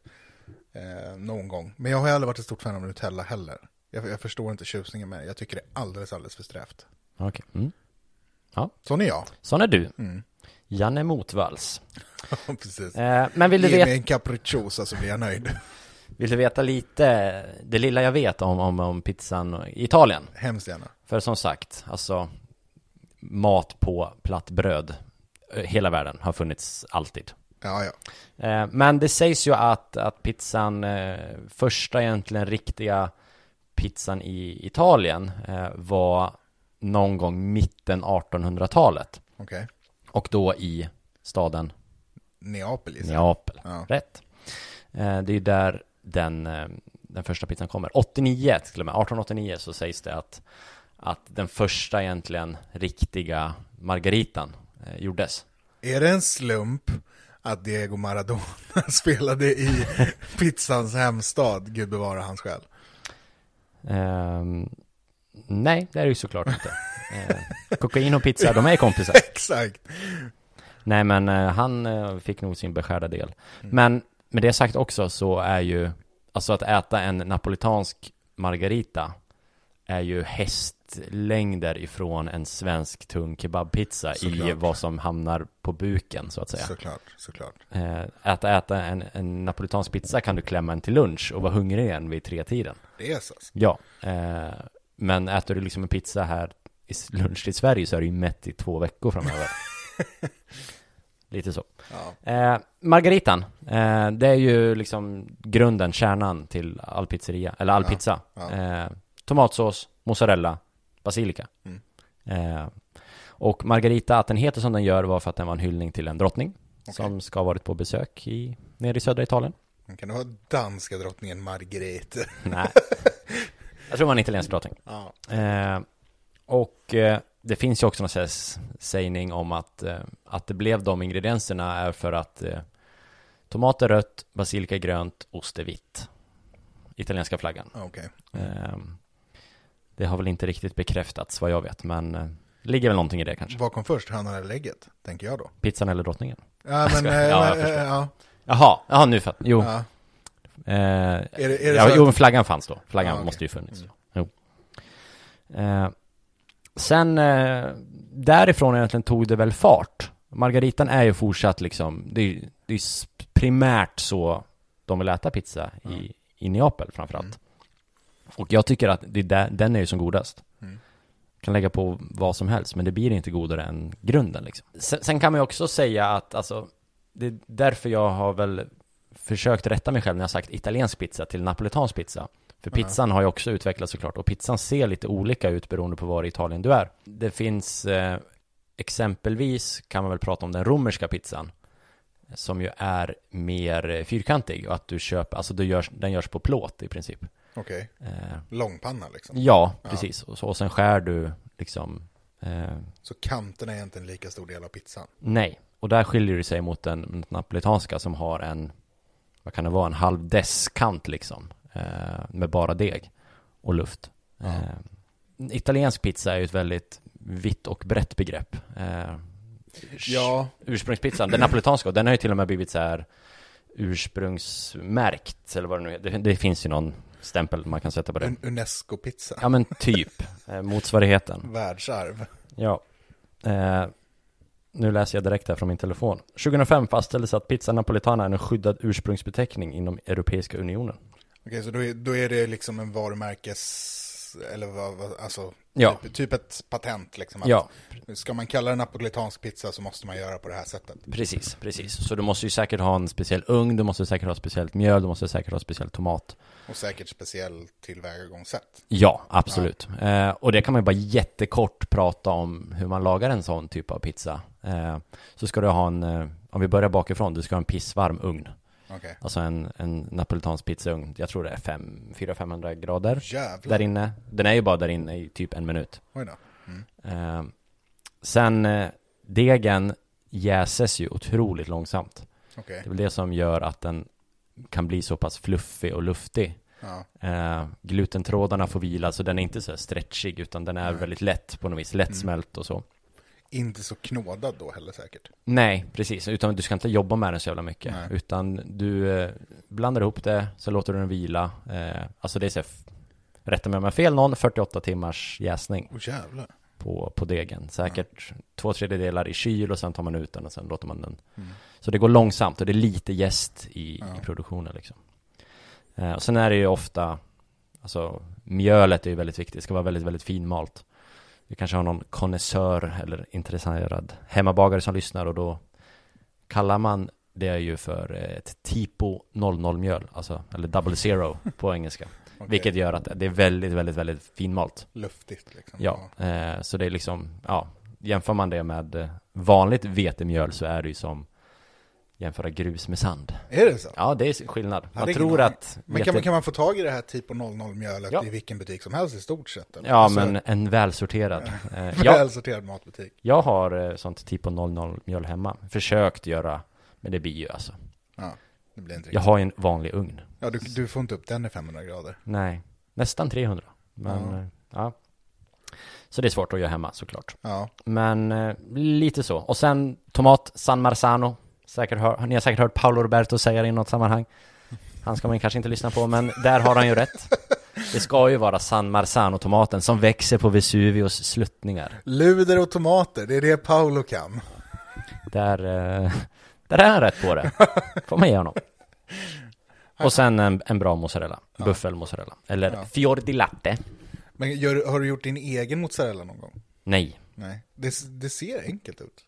Speaker 2: Eh, någon gång. Men jag har ju aldrig varit ett stort fan av Nutella heller. Jag, jag förstår inte tjusningen med det. Jag tycker det är alldeles, alldeles för strävt.
Speaker 3: Okej. Mm.
Speaker 2: Sån är [laughs] jag.
Speaker 3: Sån är du.
Speaker 2: Mm.
Speaker 3: Janne Motvalls.
Speaker 2: Precis.
Speaker 3: Eh, men vill du,
Speaker 2: Ge
Speaker 3: veta,
Speaker 2: mig en capricciosa så blir jag nöjd. [laughs]
Speaker 3: vill du veta lite, det lilla jag vet om, om, om pizzan i Italien?
Speaker 2: Hemskt gärna.
Speaker 3: För som sagt, alltså mat på platt bröd. eh, Hela världen har funnits alltid.
Speaker 2: Ja, ja.
Speaker 3: Eh, Men det sägs ju att, att pizzan, eh, första egentligen riktiga pizzan i Italien eh, var någon gång mitten 1800-talet
Speaker 2: Okej.
Speaker 3: och då i staden
Speaker 2: Neapel gissar jag.
Speaker 3: Neapel.
Speaker 2: Ja.
Speaker 3: Rätt. Eh, Det är ju där den, eh, den första pizzan kommer. 89 till och med, 1889 så sägs det att, att den första egentligen riktiga margaritan eh, gjordes.
Speaker 2: Är det en slump att Diego Maradona [laughs] spelade
Speaker 3: [laughs]
Speaker 2: i pizzans hemstad? Gud bevara hans själ.
Speaker 3: Ehm, nej, det är det ju såklart inte. Eh, kokain och pizza, de är kompisar.
Speaker 2: Exakt.
Speaker 3: Nej, men eh, han eh, fick nog sin beskärda del. Men med det sagt också så är ju, alltså att äta en napolitansk margarita är ju hästlängder ifrån en svensk tung kebabpizza i
Speaker 2: Såklart.
Speaker 3: vad som hamnar på buken så att säga.
Speaker 2: Såklart, såklart.
Speaker 3: Eh, att äta en, en napolitansk pizza kan du klämma en till lunch och vara hungrig igen vid tre tiden.
Speaker 2: Det är så.
Speaker 3: Ja, eh, men äter du liksom en pizza här i s- lunch till Sverige så är du ju mätt i två veckor framöver. Lite så.
Speaker 2: Ja.
Speaker 3: Eh, margaritan, eh, det är ju liksom grunden, kärnan till all pizzeria, eller all
Speaker 2: Ja,
Speaker 3: pizza.
Speaker 2: ja.
Speaker 3: Eh, tomatsås, mozzarella, basilika.
Speaker 2: Mm.
Speaker 3: Eh, och Margarita, att den heter som den gör var för att den var en hyllning till en drottning
Speaker 2: Okej.
Speaker 3: som ska ha varit på besök i, nere i södra Italien.
Speaker 2: Men Kan det vara danska drottningen Margrethe?
Speaker 3: Nej,
Speaker 2: [laughs]
Speaker 3: jag tror det var en italiensk drottning.
Speaker 2: Ja.
Speaker 3: Eh, och eh, det finns ju också någon sån här s- sägning om att, eh, att det blev de ingredienserna är för att eh, tomat är rött, basilika är grönt, ost är vitt. italienska flaggan.
Speaker 2: Okej.
Speaker 3: Ehm, Det har väl inte riktigt bekräftats vad jag vet, men eh, ligger väl någonting i det kanske.
Speaker 2: Vad kom först, hönan eller ägget? Tänker jag då.
Speaker 3: Pizzan eller drottningen?
Speaker 2: [laughs] Ja, men...
Speaker 3: ska-
Speaker 2: eh,
Speaker 3: [laughs] ja, jag
Speaker 2: eh,
Speaker 3: förstår.
Speaker 2: ja,
Speaker 3: Jaha, jaha nu fattar Jo,
Speaker 2: ja.
Speaker 3: eh,
Speaker 2: Är det, är det
Speaker 3: ja,
Speaker 2: så
Speaker 3: jo men flaggan fanns då. Flaggan
Speaker 2: Ja, okej.
Speaker 3: måste ju funnits. Jo. Eh, sen eh, därifrån egentligen tog det väl fart. Margaritan är ju fortsatt liksom, det är, ju- det är ju s- primärt så de vill äta pizza i, i Neapel framförallt.
Speaker 2: Mm.
Speaker 3: Och jag tycker att det är där, den är ju som godast.
Speaker 2: Mm.
Speaker 3: Kan lägga på vad som helst, men det blir inte godare än grunden liksom. Sen, sen kan man ju också säga att, alltså, det är därför jag har väl försökt rätta mig själv när jag sagt italiensk pizza till napolitansk pizza. För pizzan har ju också utvecklats såklart och pizzan ser lite olika ut beroende på var i Italien du är. Det finns eh, exempelvis kan man väl prata om den romerska pizzan som ju är mer eh, fyrkantig och att du köper, alltså du görs, den görs på plåt i princip.
Speaker 2: Okej.
Speaker 3: Eh,
Speaker 2: Långpanna liksom.
Speaker 3: ja,
Speaker 2: Ja.
Speaker 3: precis. Och, så, och sen skär du liksom eh,
Speaker 2: Så kanterna är egentligen lika stor del av pizzan.
Speaker 3: nej. Och där skiljer det sig mot den mot napolitanska som har en, vad kan det vara, en halv deskant liksom. Eh, med bara deg och luft. Eh, italiensk pizza är ju ett väldigt vitt och brett begrepp. Eh,
Speaker 2: Ja.
Speaker 3: ursprungspizzan, den napolitanska, och den har ju till och med blivit så här ursprungsmärkt, eller vad det nu är. Det, det finns ju någon stämpel man kan sätta på det.
Speaker 2: Un- Unesco-pizza.
Speaker 3: Ja men typ, eh, motsvarigheten.
Speaker 2: Världsarv.
Speaker 3: Ja. Eh, nu läser jag direkt här från min telefon. 2005 fastställdes att pizza napolitana är en skyddad ursprungsbeteckning inom Europeiska Unionen.
Speaker 2: Okej, så då är, då är det liksom en varumärkes... Eller vad, vad alltså...
Speaker 3: Ja.
Speaker 2: Typ, typ ett patent liksom. Att
Speaker 3: Ja,
Speaker 2: Ska man kalla det napolitansk pizza så måste man göra på det här sättet.
Speaker 3: precis, precis. Så du måste ju säkert ha en speciell ugn, du måste säkert ha speciellt mjöl, du måste säkert ha speciell tomat.
Speaker 2: Och säkert speciell tillvägagångssätt.
Speaker 3: Ja, absolut. Eh, och det kan man ju bara jättekort prata om hur man lagar en sån typ av pizza. Eh, så ska du ha en, eh, om vi börjar bakifrån, du ska ha en pissvarm ugn.
Speaker 2: Okej.
Speaker 3: Alltså en, en napolitansk pizzaugn. Jag tror det är fem- 400-500 grader
Speaker 2: Jävlar.
Speaker 3: Mm. där inne. Den är ju bara där inne i typ en minut.
Speaker 2: Oj då.
Speaker 3: Eh, sen eh, degen jäses ju otroligt långsamt.
Speaker 2: Okej.
Speaker 3: Det är väl det som gör att den kan bli så pass fluffig och luftig.
Speaker 2: Ja.
Speaker 3: Eh, glutentrådarna får vila, så den är inte så här stretchig, utan den är väldigt lätt på något vis, lättsmält och så.
Speaker 2: Inte så knådad då heller säkert.
Speaker 3: Nej, precis, utan du ska inte jobba med den så jävla mycket,
Speaker 2: Nej.
Speaker 3: utan du eh, blandar ihop det, så låter du den vila. Eh, alltså det är så här, f- rätta mig om jag har fel någon, 48 timmars jäsning
Speaker 2: Åh jävlar.
Speaker 3: på, på degen. Säkert två tredjedelar i kyl och sen tar man ut den och sen låter man den.
Speaker 2: Mm.
Speaker 3: Så det går långsamt och det är lite jäst i, i produktionen liksom. Eh, och sen är det ju ofta, alltså mjölet är ju väldigt viktigt, det ska vara väldigt, väldigt finmalt. Vi kanske har någon konnässör eller intresserad hemmabagare som lyssnar och då kallar man det ju för eh, ett Tipo 00-mjöl, alltså, eller double zero på engelska.
Speaker 2: Okej.
Speaker 3: Vilket gör att det är väldigt, väldigt, väldigt finmalt.
Speaker 2: Luftigt liksom.
Speaker 3: Ja, eh, så det är liksom, ja, jämför man det med eh, vanligt vetemjöl så är det ju som jämföra grus med sand.
Speaker 2: Är det så?
Speaker 3: Ja, det är skillnad. Man
Speaker 2: det är
Speaker 3: tror
Speaker 2: ingen aning.
Speaker 3: att...
Speaker 2: Men kan, man- kan man få tag i det här typ 00 mjölet
Speaker 3: Ja.
Speaker 2: i vilken butik som helst i stort sett? Eller? Alltså, [laughs]
Speaker 3: Ja, men en välsorterad. Eh, jag,
Speaker 2: Välsorterad matbutik.
Speaker 3: jag har eh, sånt Tipo 00 mjöl hemma. Försökt göra, men det blir ju alltså.
Speaker 2: Ja, det blir inte
Speaker 3: Jag
Speaker 2: riktigt.
Speaker 3: har ju en vanlig ugn.
Speaker 2: Ja, du, du får inte upp den i 500 grader.
Speaker 3: Nej, nästan 300. Men,
Speaker 2: Ja.
Speaker 3: eh, ja. Så det är svårt att göra hemma såklart.
Speaker 2: Ja,
Speaker 3: Men eh, lite så. Och sen tomat, San Marzano. Säkert hör, ni har säkert hört Paolo Roberto säga det i något sammanhang. Han ska man kanske inte lyssna på, men där har han ju rätt. Det ska ju vara San Marzano-tomaten som växer på Vesuvios sluttningar.
Speaker 2: luder och tomater, det är det Paolo kan.
Speaker 3: Där, eh, där är han rätt på det. Får man ge honom. Och sen en, en bra mozzarella. Buffelmozzarella. Eller
Speaker 2: Ja.
Speaker 3: fior di latte.
Speaker 2: Men gör, har du gjort din egen mozzarella någon gång?
Speaker 3: Nej.
Speaker 2: Nej, det, det ser enkelt ut.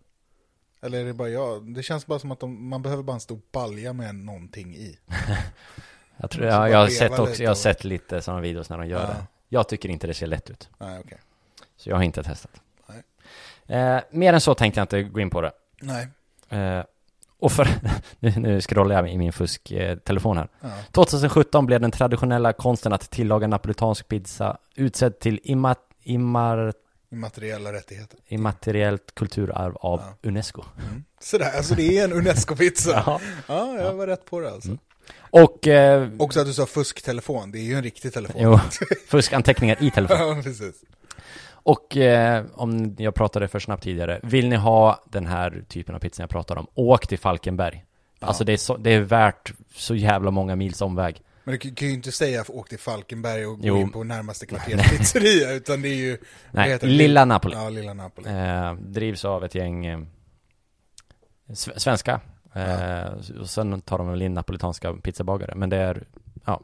Speaker 2: Eller är det bara jag? Det känns bara som att de, man behöver bara en stor balja med någonting i.
Speaker 3: Jag, tror,
Speaker 2: Så bara
Speaker 3: jag, jag, har,
Speaker 2: leva
Speaker 3: sett också,
Speaker 2: lite
Speaker 3: jag har
Speaker 2: och-
Speaker 3: sett lite sådana videos när de gör
Speaker 2: Ja.
Speaker 3: det. Jag tycker inte det ser lätt ut.
Speaker 2: Nej, okej.
Speaker 3: Så jag har inte testat. Eh, mer än så tänkte jag inte gå in på det.
Speaker 2: Nej.
Speaker 3: Eh, och för, [laughs] nu, nu scrollar jag i min fusktelefon här.
Speaker 2: Ja.
Speaker 3: 2017 blev den traditionella konsten att tillaga napolitansk pizza utsedd till imma, immar,
Speaker 2: Immateriella rättigheter. Mm.
Speaker 3: immateriellt kulturarv av Unesco.
Speaker 2: Sådär, alltså det är en Unesco-pizza. ja.
Speaker 3: Ja.
Speaker 2: jag var rätt på det alltså.
Speaker 3: Och... Eh,
Speaker 2: Också att du sa fusktelefon, det är ju en riktig telefon.
Speaker 3: jo, fuskanteckningar i telefon.
Speaker 2: [laughs] Ja, precis.
Speaker 3: Och eh, om jag pratade för snabbt tidigare, vill ni ha den här typen av pizza jag pratar om, åk till Falkenberg. Alltså det är, så, det är värt så jävla många mils omväg.
Speaker 2: Men du kan kan ju inte säga åk till Falkenberg och
Speaker 3: Jo.
Speaker 2: gå in på närmaste kvarterspizzeria, utan det är ju... vad
Speaker 3: Nej,
Speaker 2: heter det?
Speaker 3: Lilla Napoli.
Speaker 2: Ja, Lilla Napoli.
Speaker 3: Eh, drivs av ett gäng eh, sve- svenska. Eh, och sen tar de väl in napolitanska pizzabagare. Men det är ja,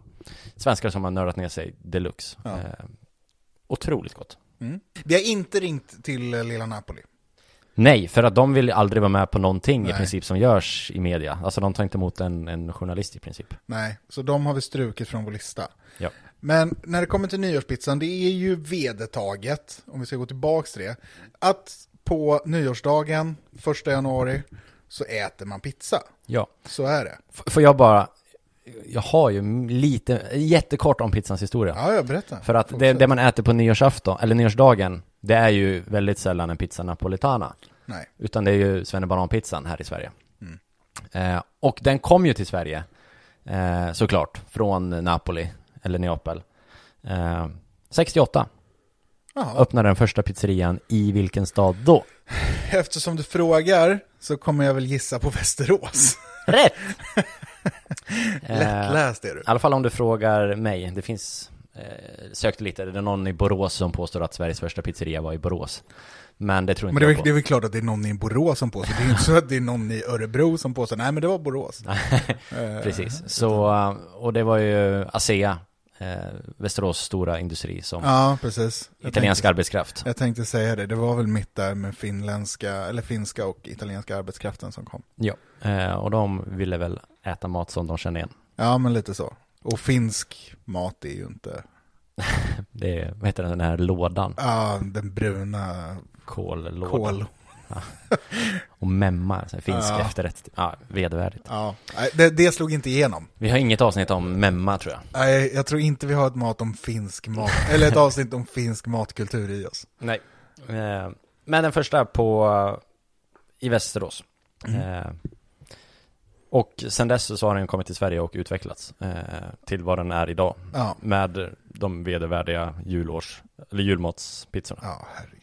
Speaker 3: svenskar som har nördat ner sig deluxe.
Speaker 2: Ja.
Speaker 3: Eh, otroligt gott.
Speaker 2: Mm. Vi har inte ringt till eh, Lilla Napoli.
Speaker 3: Nej, för att de vill aldrig vara med på någonting i
Speaker 2: Nej.
Speaker 3: princip som görs i media. Alltså de tar inte emot en, en journalist i princip.
Speaker 2: Nej, så de har vi strukit från vår lista.
Speaker 3: Ja.
Speaker 2: Men när det kommer till nyårspizzan, det är ju vedertaget, om vi ska gå tillbaka till det, att på nyårsdagen, första januari, så äter man pizza.
Speaker 3: ja.
Speaker 2: Så är det.
Speaker 3: F- får jag bara, jag har ju lite, jättekort om pizzans historia.
Speaker 2: Ja, jag berättar.
Speaker 3: För att det, det man äter på nyårsafton, eller nyårsdagen, det är ju väldigt sällan en pizza napolitana.
Speaker 2: Nej.
Speaker 3: Utan det är ju svennebananpizzan här i Sverige. Eh, och den kom ju till Sverige, eh, såklart, från Napoli, eller Neapel. Eh, 68
Speaker 2: Jaha.
Speaker 3: öppnade den första pizzerian i vilken stad då?
Speaker 2: Eftersom du frågar så kommer jag väl gissa på Västerås. [laughs]
Speaker 3: Rätt!
Speaker 2: Mm.
Speaker 3: Eh,
Speaker 2: Lättläst är du.
Speaker 3: I alla fall om du frågar mig. Det finns, eh, sökte lite, det är någon i Borås som påstår att Sveriges första pizzeria var i Borås. Men det tror
Speaker 2: Men det
Speaker 3: inte
Speaker 2: är,
Speaker 3: jag
Speaker 2: väl,
Speaker 3: på.
Speaker 2: det är väl klart att det är någon i Borås som påstår, det är ju inte så att det är någon i Örebro som påstår, nej men det var [laughs] Borås.
Speaker 3: Precis. Så, eh, och det var ju ASEA, eh, Västerås stora industri som
Speaker 2: Ja, precis. Jag
Speaker 3: italiensk arbetskraft.
Speaker 2: Jag tänkte säga det, det var väl mitt där med finländska, eller finska och italienska arbetskraften som kom.
Speaker 3: Ja. Eh, och de ville väl äta mat som de kände igen.
Speaker 2: Ja, men lite så. Och finsk mat är ju inte,
Speaker 3: Det är, vad heter den här lådan?
Speaker 2: ja, den bruna
Speaker 3: Kållådan.
Speaker 2: kol.
Speaker 3: Och memma, så här finsk
Speaker 2: Ja.
Speaker 3: efterrätt. Ja, vedervärdigt.
Speaker 2: Ja, nej, det, det slog inte igenom.
Speaker 3: Vi har inget avsnitt om memma tror jag.
Speaker 2: Nej, jag tror inte vi har ett mat om finsk mat, eller ett avsnitt om finsk matkultur i oss.
Speaker 3: Nej. Eh, Men den första på, i Västerås. Eh, Och sen dess så har den kommit till Sverige och utvecklats eh, till vad den är idag.
Speaker 2: Ja,
Speaker 3: Med de vedervärdiga julårs, eller julmatspizzorna.
Speaker 2: ja herregud.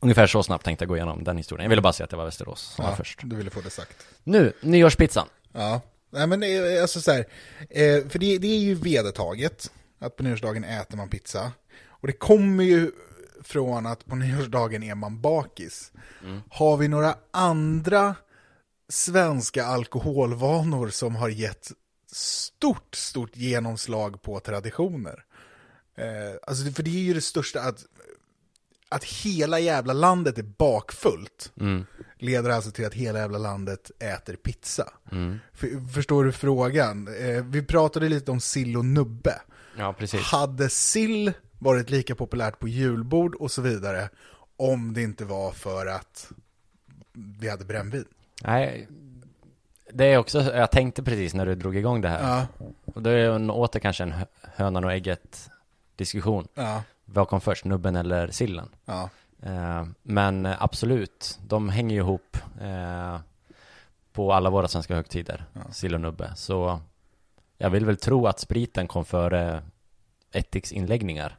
Speaker 3: Ungefär så snabbt tänkte jag gå igenom den historien. Jag ville bara säga att det var Västerås som var
Speaker 2: Ja,
Speaker 3: först.
Speaker 2: du ville få det sagt.
Speaker 3: Nu, nyårspizzan.
Speaker 2: Ja, nej men det är- alltså så här, eh, för det, det är ju vedertaget att på nyårsdagen äter man pizza. Och det kommer ju från att på [laughs] nyårsdagen är man bakis. Har vi några andra svenska alkoholvanor som har gett stort, stort genomslag på traditioner? Eh, alltså, för det är ju det största att, att hela jävla landet är bakfullt leder alltså till att hela jävla landet äter pizza.
Speaker 3: Mm.
Speaker 2: För, förstår du frågan? Eh, vi pratade lite om sill och nubbe.
Speaker 3: Ja, precis.
Speaker 2: Hade sill varit lika populärt på julbord och så vidare om det inte var för att vi hade brännvin?
Speaker 3: Nej, det är också, jag tänkte precis när du drog igång det här.
Speaker 2: Ja,
Speaker 3: Och det är en, åter kanske en hö- hönan och ägget diskussion.
Speaker 2: ja,
Speaker 3: Vad kom först, nubben eller sillen?
Speaker 2: ja.
Speaker 3: Eh, men eh, absolut, de hänger ju ihop eh, på alla våra svenska högtider, sill och nubbe. Så jag vill väl tro att spriten kom före ättiksinläggningar.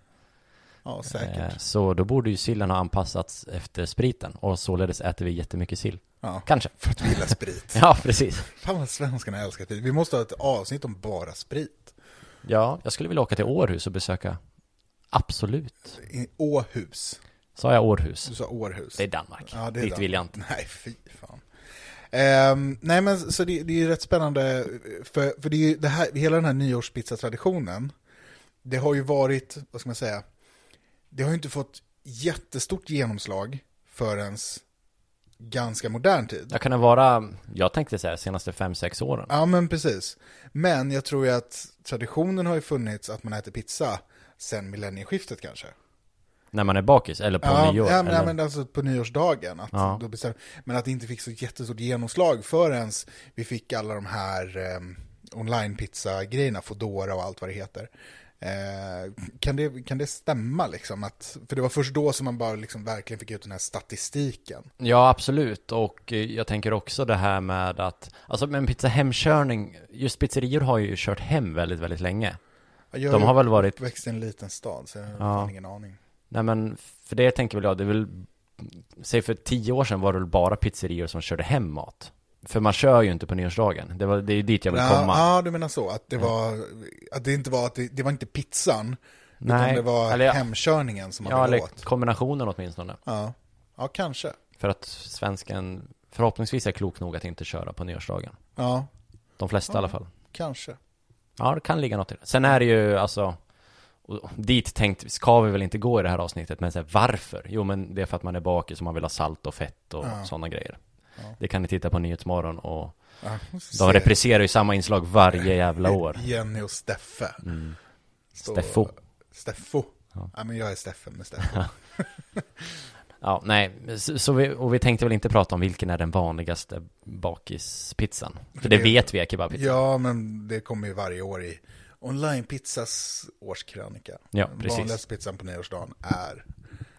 Speaker 2: ja
Speaker 3: Eh,
Speaker 2: säkert.
Speaker 3: så då borde ju sillen ha anpassats efter spriten och således äter vi jättemycket sill.
Speaker 2: Ja. [laughs]
Speaker 3: Kanske.
Speaker 2: För att vi gillar sprit.
Speaker 3: Ja, precis.
Speaker 2: Fan vad svenskarna älskar sprit. Vi måste ha ett avsnitt om bara sprit.
Speaker 3: Ja, jag skulle vilja åka till Århus och besöka Absolut.
Speaker 2: I Åhus.
Speaker 3: Sa jag Århus?
Speaker 2: Du sa Århus.
Speaker 3: Det är Danmark.
Speaker 2: Ja, det är
Speaker 3: Dit
Speaker 2: de.
Speaker 3: vill jag inte.
Speaker 2: [laughs] Nej, fy fan. Ehm, nej, men så det, det är ju rätt spännande, för, för det är ju det här, hela den här nyårspizzatraditionen, det har ju varit, vad ska man säga, det har ju inte fått jättestort genomslag förrän ganska modern tid.
Speaker 3: Jag kan det vara, jag tänkte säga senaste fem sex åren.
Speaker 2: Ja, men precis. Men jag tror ju att traditionen har ju funnits att man äter pizza sen millennieskiftet kanske.
Speaker 3: När man är bakis eller på
Speaker 2: Ja,
Speaker 3: nyår.
Speaker 2: ja, men,
Speaker 3: eller?
Speaker 2: ja, men alltså på nyårsdagen. Att
Speaker 3: Ja.
Speaker 2: då bestäm- men att det inte fick så jättestort genomslag förrän ehm, vi fick alla de här eh, online-pizza-grejerna, Foodora och allt vad det heter. Eh, kan, det, kan det stämma liksom? Att, för det var först då som man bara liksom verkligen fick ut den här statistiken.
Speaker 3: Ja, absolut. Och eh, jag tänker också det här med att, alltså med en pizza hemkörning, just pizzerior har ju kört hem väldigt, väldigt länge.
Speaker 2: Jag
Speaker 3: De har väl varit,
Speaker 2: växt i en liten stad så jag har
Speaker 3: Ja.
Speaker 2: fan ingen aning.
Speaker 3: nej men för det tänker väl jag, det är väl, säg för tio år sedan var det väl bara pizzerior som körde hem mat. För man kör ju inte på nyårsdagen, det, var, det är ju dit jag vill
Speaker 2: Ja,
Speaker 3: komma.
Speaker 2: ja, du menar så. Att det, var, att det inte var, att det, det var inte pizzan, utan
Speaker 3: Nej,
Speaker 2: det var
Speaker 3: eller ja.
Speaker 2: hemkörningen som man
Speaker 3: Ja,
Speaker 2: ville
Speaker 3: eller
Speaker 2: åt.
Speaker 3: kombinationen åtminstone.
Speaker 2: Ja. ja, kanske.
Speaker 3: För att svensken förhoppningsvis är klok nog att inte köra på nyårsdagen.
Speaker 2: Ja,
Speaker 3: De flesta i alla fall.
Speaker 2: kanske.
Speaker 3: Ja, det kan ligga något i det. Sen är det ju alltså, och dit tänkt ska vi väl inte gå i det här avsnittet, men så här, varför? Jo, men det är för att man är bakis och man vill ha salt och fett och
Speaker 2: Ja.
Speaker 3: sådana grejer.
Speaker 2: Ja.
Speaker 3: Det kan ni titta på Nyhetsmorgon och
Speaker 2: Ja, vi får
Speaker 3: de
Speaker 2: se.
Speaker 3: repriserar ju samma inslag varje
Speaker 2: [laughs]
Speaker 3: jävla år.
Speaker 2: Jenny och Steffe.
Speaker 3: Mm.
Speaker 2: Så-
Speaker 3: Steffo.
Speaker 2: Steffo.
Speaker 3: Ja.
Speaker 2: Ja. men jag är Steffen med Steffo.
Speaker 3: Ja, nej, så, så vi, och vi tänkte väl inte prata om vilken är den vanligaste bakispizzan. För det
Speaker 2: Det-
Speaker 3: vet vi är kebabpizza.
Speaker 2: ja, men det kommer ju varje år i Online-pizzas årskrönika.
Speaker 3: Ja,
Speaker 2: Den
Speaker 3: precis.
Speaker 2: Vanligaste pizzan på nyårsdagen är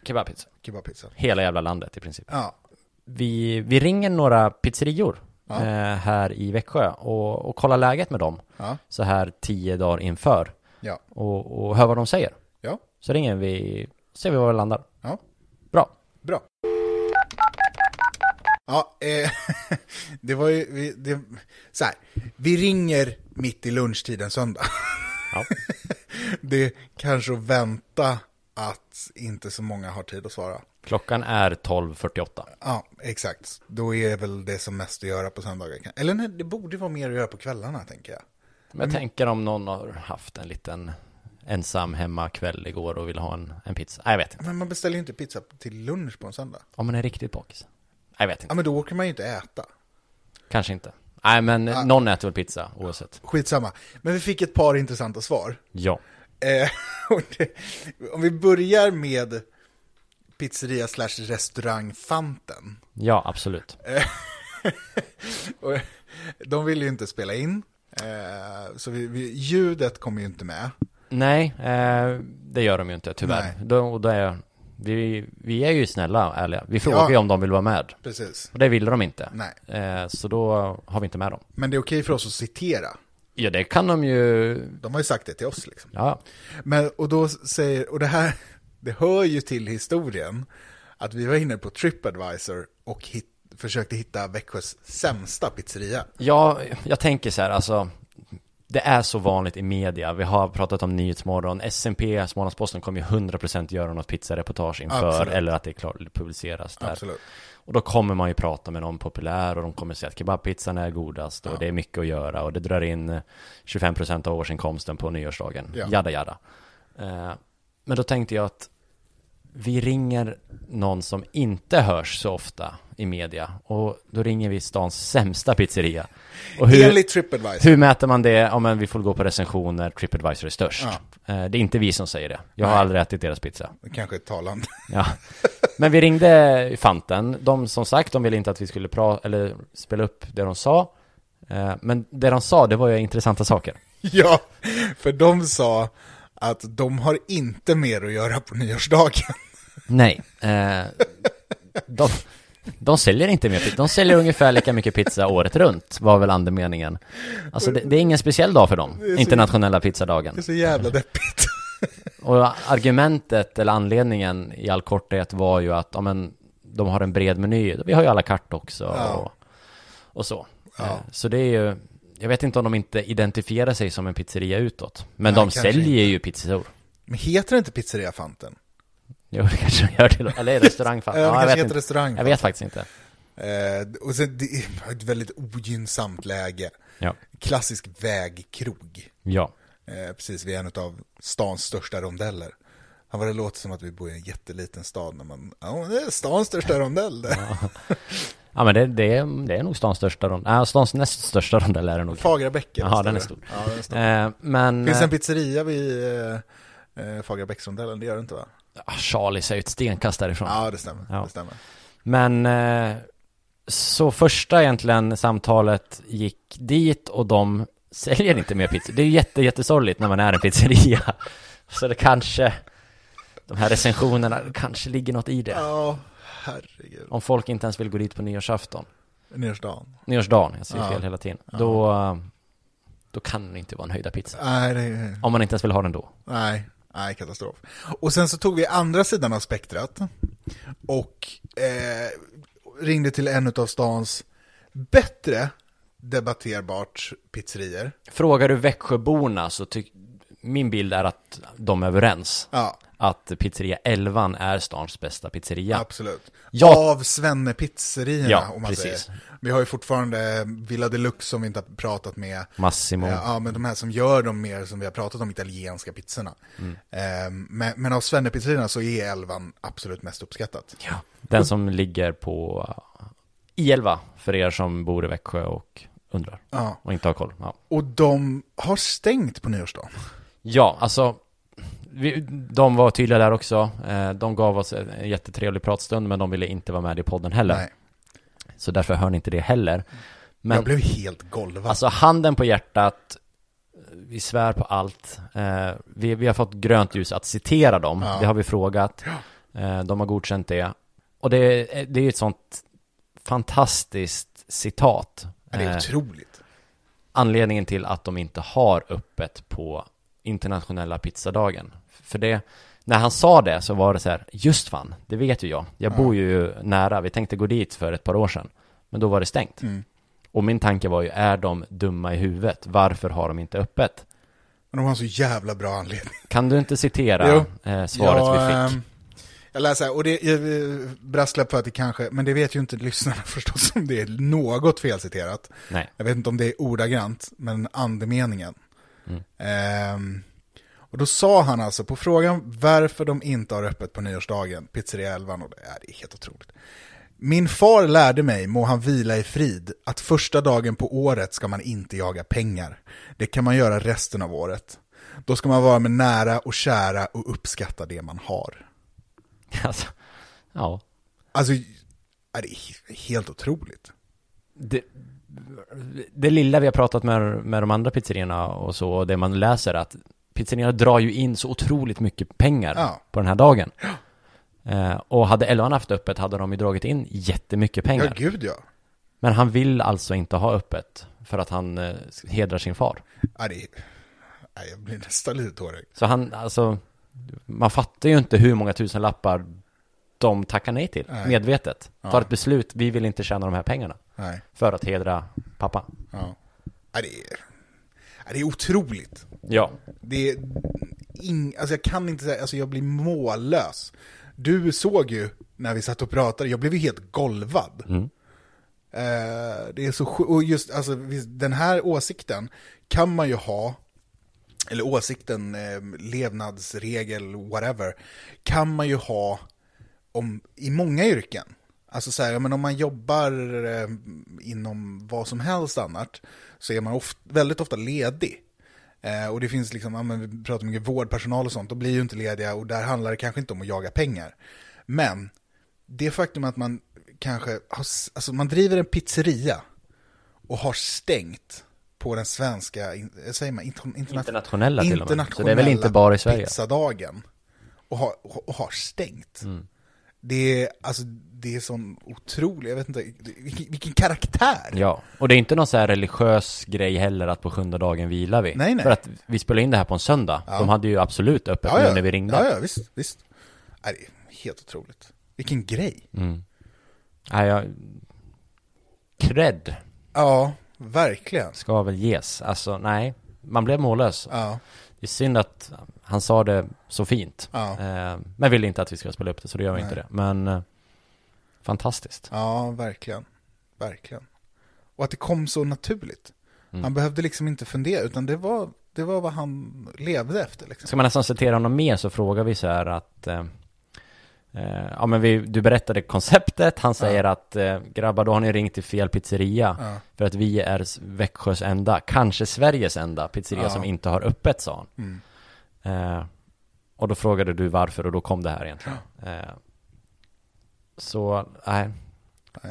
Speaker 3: Kebabpizza.
Speaker 2: kebabpizza.
Speaker 3: Hela jävla landet i princip.
Speaker 2: Ja,
Speaker 3: vi, vi ringer några pizzerior
Speaker 2: Ja.
Speaker 3: eh, här i Växjö och, och kollar läget med dem
Speaker 2: ja,
Speaker 3: så här tio dagar inför
Speaker 2: ja,
Speaker 3: och, och hör vad de säger.
Speaker 2: ja,
Speaker 3: Så ringer vi, ser vi var vi landar.
Speaker 2: ja.
Speaker 3: Bra.
Speaker 2: Bra. Ja, eh, [laughs] det var ju, vi- det, så här, vi ringer mitt i lunchtiden söndag.
Speaker 3: Ja.
Speaker 2: [laughs] Det är kanske att vänta att inte så många har tid att svara.
Speaker 3: Klockan är 12.48.
Speaker 2: Ja, exakt. Då är väl det som mest att göra på söndagar. Eller nej, det borde vara mer att göra på kvällarna, tänker jag.
Speaker 3: Men
Speaker 2: Mm.
Speaker 3: jag tänker om någon har haft en liten ensam hemma kväll igår och vill ha en, en pizza. Nej, jag vet inte.
Speaker 2: Men man beställer ju inte pizza till lunch på en söndag.
Speaker 3: Om man är riktigt bakis. Nej, jag vet
Speaker 2: Ja,
Speaker 3: inte.
Speaker 2: men då orkar man ju inte äta.
Speaker 3: Kanske inte. Nej, men eh, någon äter väl pizza oavsett.
Speaker 2: Skitsamma. Men vi fick ett par intressanta svar.
Speaker 3: Ja.
Speaker 2: Eh, [laughs] och det, om vi börjar med pizzeria slash restaurang Fanten.
Speaker 3: Ja, absolut.
Speaker 2: Och [laughs] De ville ju inte spela in, eh, så vi, vi, ljudet kom ju inte med.
Speaker 3: Nej, eh, det gör de ju inte tyvärr.
Speaker 2: Nej.
Speaker 3: Då, och det är, vi, vi är ju snälla och ärliga. Vi frågar ju om de vill vara med.
Speaker 2: Precis.
Speaker 3: Och det ville de inte.
Speaker 2: Nej.
Speaker 3: Eh, så då har vi inte med dem.
Speaker 2: Men det är okej för oss att citera.
Speaker 3: Ja, det kan de ju...
Speaker 2: De har ju sagt det till oss liksom.
Speaker 3: Ja,
Speaker 2: Men, och då säger, och det här, [laughs] det hör ju till historien, att vi var inne på Tripadvisor och hit, försökte hitta Växjös sämsta pizzeria.
Speaker 3: ja jag tänker så här, alltså. Det är så vanligt i media. Vi har pratat om Nyhetsmorgon. SMP, Smålandsposten, kommer ju 100% göra något pizzareportage inför.
Speaker 2: Absolut.
Speaker 3: Eller att det är klart, publiceras där.
Speaker 2: Absolut.
Speaker 3: Och då kommer man ju prata med någon populär och de kommer säga att kebabpizzan är godast och det är mycket att göra och det drar in eh, 25% av årsinkomsten på nyårsdagen.
Speaker 2: Ja.
Speaker 3: Jada jada. Eh, Men då tänkte jag att vi ringer någon som inte hörs så ofta i media och då ringer vi stans sämsta pizzeria. Och hur,
Speaker 2: Enligt Tripadvisor.
Speaker 3: hur mäter man det? Ja men vi får gå på recensioner, Tripadvisor är störst. Eh, Det är inte vi som säger det. Jag har
Speaker 2: Nej.
Speaker 3: aldrig ätit deras pizza.
Speaker 2: Kanske talande.
Speaker 3: Ja. Men vi ringde Fanten. De som sagt, de ville inte att vi skulle pra- eller spela upp det de sa. Eh, Men det de sa, det var ju intressanta saker.
Speaker 2: [laughs] Ja, för de sa att de har inte mer att göra på nyårsdagen. [laughs]
Speaker 3: Nej. eh, De, de säljer inte mer pizza. De säljer ungefär lika mycket pizza året runt, var väl andemeningen. Alltså det, det är ingen speciell dag för dem, internationella
Speaker 2: Det är
Speaker 3: pizzadagen.
Speaker 2: så jävla deppigt.
Speaker 3: Och argumentet, eller anledningen i all korthet var ju att, ja men, de har en bred meny. Vi har ju alla kart också
Speaker 2: Ja.
Speaker 3: och, och så. Eh, Så det är ju, jag vet inte om de inte identifierar sig som en pizzeria utåt.
Speaker 2: Nej,
Speaker 3: Men de
Speaker 2: kanske
Speaker 3: säljer ju pizzor.
Speaker 2: Men heter det inte pizzeria Fanten?
Speaker 3: Jo, det kanske de gör till, eller är det restaurang
Speaker 2: [laughs] Ja,
Speaker 3: fan.
Speaker 2: det
Speaker 3: Ja, jag
Speaker 2: kanske
Speaker 3: vet
Speaker 2: heter
Speaker 3: inte.
Speaker 2: restaurang.
Speaker 3: Jag vet faktiskt inte.
Speaker 2: Eh, och sen, det är ett väldigt ogynnsamt läge.
Speaker 3: Ja.
Speaker 2: Klassisk vägkrog.
Speaker 3: Ja.
Speaker 2: Eh, precis vid en av stans största rondeller. Han var det låter som att vi bor i en jätteliten stad när man, ja det är stans största rondell
Speaker 3: [laughs]
Speaker 2: det.
Speaker 3: Ja men det, det, är- det är nog stans största rond, nej stans näst största rondell är det nog.
Speaker 2: Fagra bäcken.
Speaker 3: Ja, den är stor.
Speaker 2: Ja, den är stor.
Speaker 3: Eh, men,
Speaker 2: Finns det en
Speaker 3: eh,
Speaker 2: pizzeria vid eh, eh, Fagra bäcksrondellen? Det gör det inte va?
Speaker 3: Charlies är ah, ju ett stenkast därifrån.
Speaker 2: Ja, det stämmer.
Speaker 3: Ja.
Speaker 2: Det stämmer.
Speaker 3: Men eh, så första egentligen samtalet gick dit och de säljer inte mer pizza. Det är ju jätte, jättesorgligt när man är en pizzeria. [laughs] Så det kanske, de här recensionerna, det kanske ligger något i det.
Speaker 2: Ja, herregud.
Speaker 3: Om folk inte ens vill gå dit på nyårsafton,
Speaker 2: Ner till stan.
Speaker 3: nyårsdagen, jag säger
Speaker 2: Ja.
Speaker 3: fel hela tiden, då, då kan det inte vara en höjda pizza.
Speaker 2: Nej, det är...
Speaker 3: Om man inte ens vill ha den då.
Speaker 2: Nej, nej, katastrof. Och sen så tog vi andra sidan av spektrat och eh, ringde till en av stans bättre debatterbart pizzerier.
Speaker 3: Frågar du Växjöborna så tycker min bild är att de är överens.
Speaker 2: Ja,
Speaker 3: Att pizzeria 11 är stans bästa pizzeria.
Speaker 2: absolut.
Speaker 3: Ja.
Speaker 2: Av Svenne-pizzerierna,
Speaker 3: Ja,
Speaker 2: om man
Speaker 3: precis.
Speaker 2: säger. Vi har ju fortfarande Villa Deluxe som vi inte har pratat med.
Speaker 4: Massimo.
Speaker 2: Eh, Ja, men de här som gör de mer som vi har pratat om, italienska pizzorna.
Speaker 3: Mm.
Speaker 2: Eh, men, men av Svenne-pizzerierna så är elvan absolut mest uppskattat.
Speaker 3: Ja. Den som ligger på eh, I11 för er som bor i Växjö och undrar
Speaker 2: Ja.
Speaker 3: och inte har koll. Ja,
Speaker 2: Och de har stängt på nyårsdagen.
Speaker 3: ja alltså vi, de var tydliga där också. Eh, De gav oss en en jättetrevlig pratstund men de ville inte vara med i podden heller.
Speaker 2: Nej,
Speaker 3: Så därför hör ni inte det heller.
Speaker 2: jag
Speaker 3: Men
Speaker 2: blev helt golvad.
Speaker 3: alltså handen på hjärtat, vi svär på allt. Eh, Vi, vi har fått grönt ljus att citera dem.
Speaker 2: Ja.
Speaker 3: Det har vi frågat. Eh, De har godkänt det. Och det, är- det är ju ett sånt fantastiskt citat.
Speaker 2: det är
Speaker 3: Eh,
Speaker 2: otroligt.
Speaker 3: anledningen till att de inte har öppet på internationella pizzadagen. För det, när han sa det så var det så här, just fan, det vet ju jag. Jag bor ju nära, vi tänkte gå dit för ett par år sedan. Men då var det stängt. Och min tanke var ju, är de dumma i huvudet? Varför har de inte öppet?
Speaker 2: Men de har en så jävla bra anledning.
Speaker 3: Kan du inte citera
Speaker 2: Jo.
Speaker 3: eh, svaret vi fick?
Speaker 2: ehm, jag läser här, och det är brasklapp för att det kanske, men det vet ju inte lyssnarna [laughs] förstås om det är något felciterat.
Speaker 3: Nej.
Speaker 2: Jag vet inte om det är ordagrant, men andemeningen.
Speaker 3: Mm.
Speaker 2: Ehm, och då sa han alltså, på frågan varför de inte har öppet på nyårsdagen, pizzeria 11, och det, ja, det är helt otroligt. Min far lärde mig, må han vila i frid, att första dagen på året ska man inte jaga pengar. Det kan man göra resten av året. Då ska man vara med nära och kära och uppskatta det man har.
Speaker 3: [laughs] Alltså, ja.
Speaker 2: Alltså, ja, det är he- helt otroligt.
Speaker 3: det, det lilla vi har pratat med, med de andra pizzerierna och så, och det man läser att pizzerierna drar ju in så otroligt mycket pengar
Speaker 2: Ja.
Speaker 3: på den här dagen. Eh, och hade Elvan haft öppet hade de ju dragit in jättemycket
Speaker 2: Ja,
Speaker 3: pengar.
Speaker 2: gud ja.
Speaker 3: Men han vill alltså inte ha öppet för att han eh, hedrar sin far.
Speaker 2: ja det är, ja, jag blir nästan lite tårögd.
Speaker 3: Så han, alltså, man fattar ju inte hur många tusen lappar de tackar nej till,
Speaker 2: Nej.
Speaker 3: medvetet. Tar ett beslut, vi vill inte tjäna de här pengarna
Speaker 2: Nej.
Speaker 3: för att hedra pappa.
Speaker 2: Ja. Ja, det, är, ja, det är otroligt.
Speaker 3: Ja,
Speaker 2: Det är ing, alltså jag kan inte säga, alltså jag blir mållös. Du såg ju när vi satt och pratade, jag blev ju helt golvad. Eh, det är så sj- och just alltså, vi- den här åsikten kan man ju ha, eller åsikten, eh, levnadsregel, whatever, kan man ju ha om, i många yrken. Alltså så här, ja, men om man jobbar eh, inom vad som helst annat så är man oft, väldigt ofta ledig. Eh, och det finns liksom, ja, men vi pratar mycket vårdpersonal och sånt, de blir ju inte lediga och där handlar det kanske inte om att jaga pengar. Men det faktum att man kanske, har, s- alltså man driver en pizzeria och har stängt på den svenska, in- eh, säger man, interna-
Speaker 3: Internationella till och med. Så det är väl inte bara i Sverige?
Speaker 2: pizzadagen och har, och har stängt.
Speaker 3: Mm.
Speaker 2: Det är, alltså, det är sån otrolig, jag vet inte, vilken, vilken karaktär!
Speaker 3: Ja, och det är inte någon så här religiös grej heller att på sjunde dagen vilar vi.
Speaker 2: Nej, nej.
Speaker 3: För att vi spelar in det här på en söndag. De hade ju absolut öppet nu när vi ringde.
Speaker 2: Ja, ja, visst, visst. Nej, det är helt otroligt. Vilken grej.
Speaker 3: Mm. Nej, jag... Cred
Speaker 2: Ja, verkligen.
Speaker 3: ska väl ges. Alltså, nej. Man blev mållös.
Speaker 2: Ja,
Speaker 3: Det är synd att han sa det så fint.
Speaker 2: Ja.
Speaker 3: Eh, men ville inte att vi skulle spela upp det, så då gör vi inte det. Men eh, fantastiskt.
Speaker 2: ja, verkligen. Verkligen. Och att det kom så naturligt.
Speaker 3: Mm.
Speaker 2: Han behövde liksom inte fundera, utan det var, det var vad han levde efter. Liksom.
Speaker 3: Ska man nästan citera honom mer så frågar vi så här att eh, eh, Ja men vi, du berättade konceptet, han säger att eh, grabbar då har ni ringt till fel pizzeria
Speaker 2: Ja.
Speaker 3: För att vi är s- Växjös enda, kanske Sveriges enda pizzeria
Speaker 2: Ja. Mm.
Speaker 3: som inte har öppet sa han eh, Och då frågade du varför och då kom det här egentligen eh, Så, nej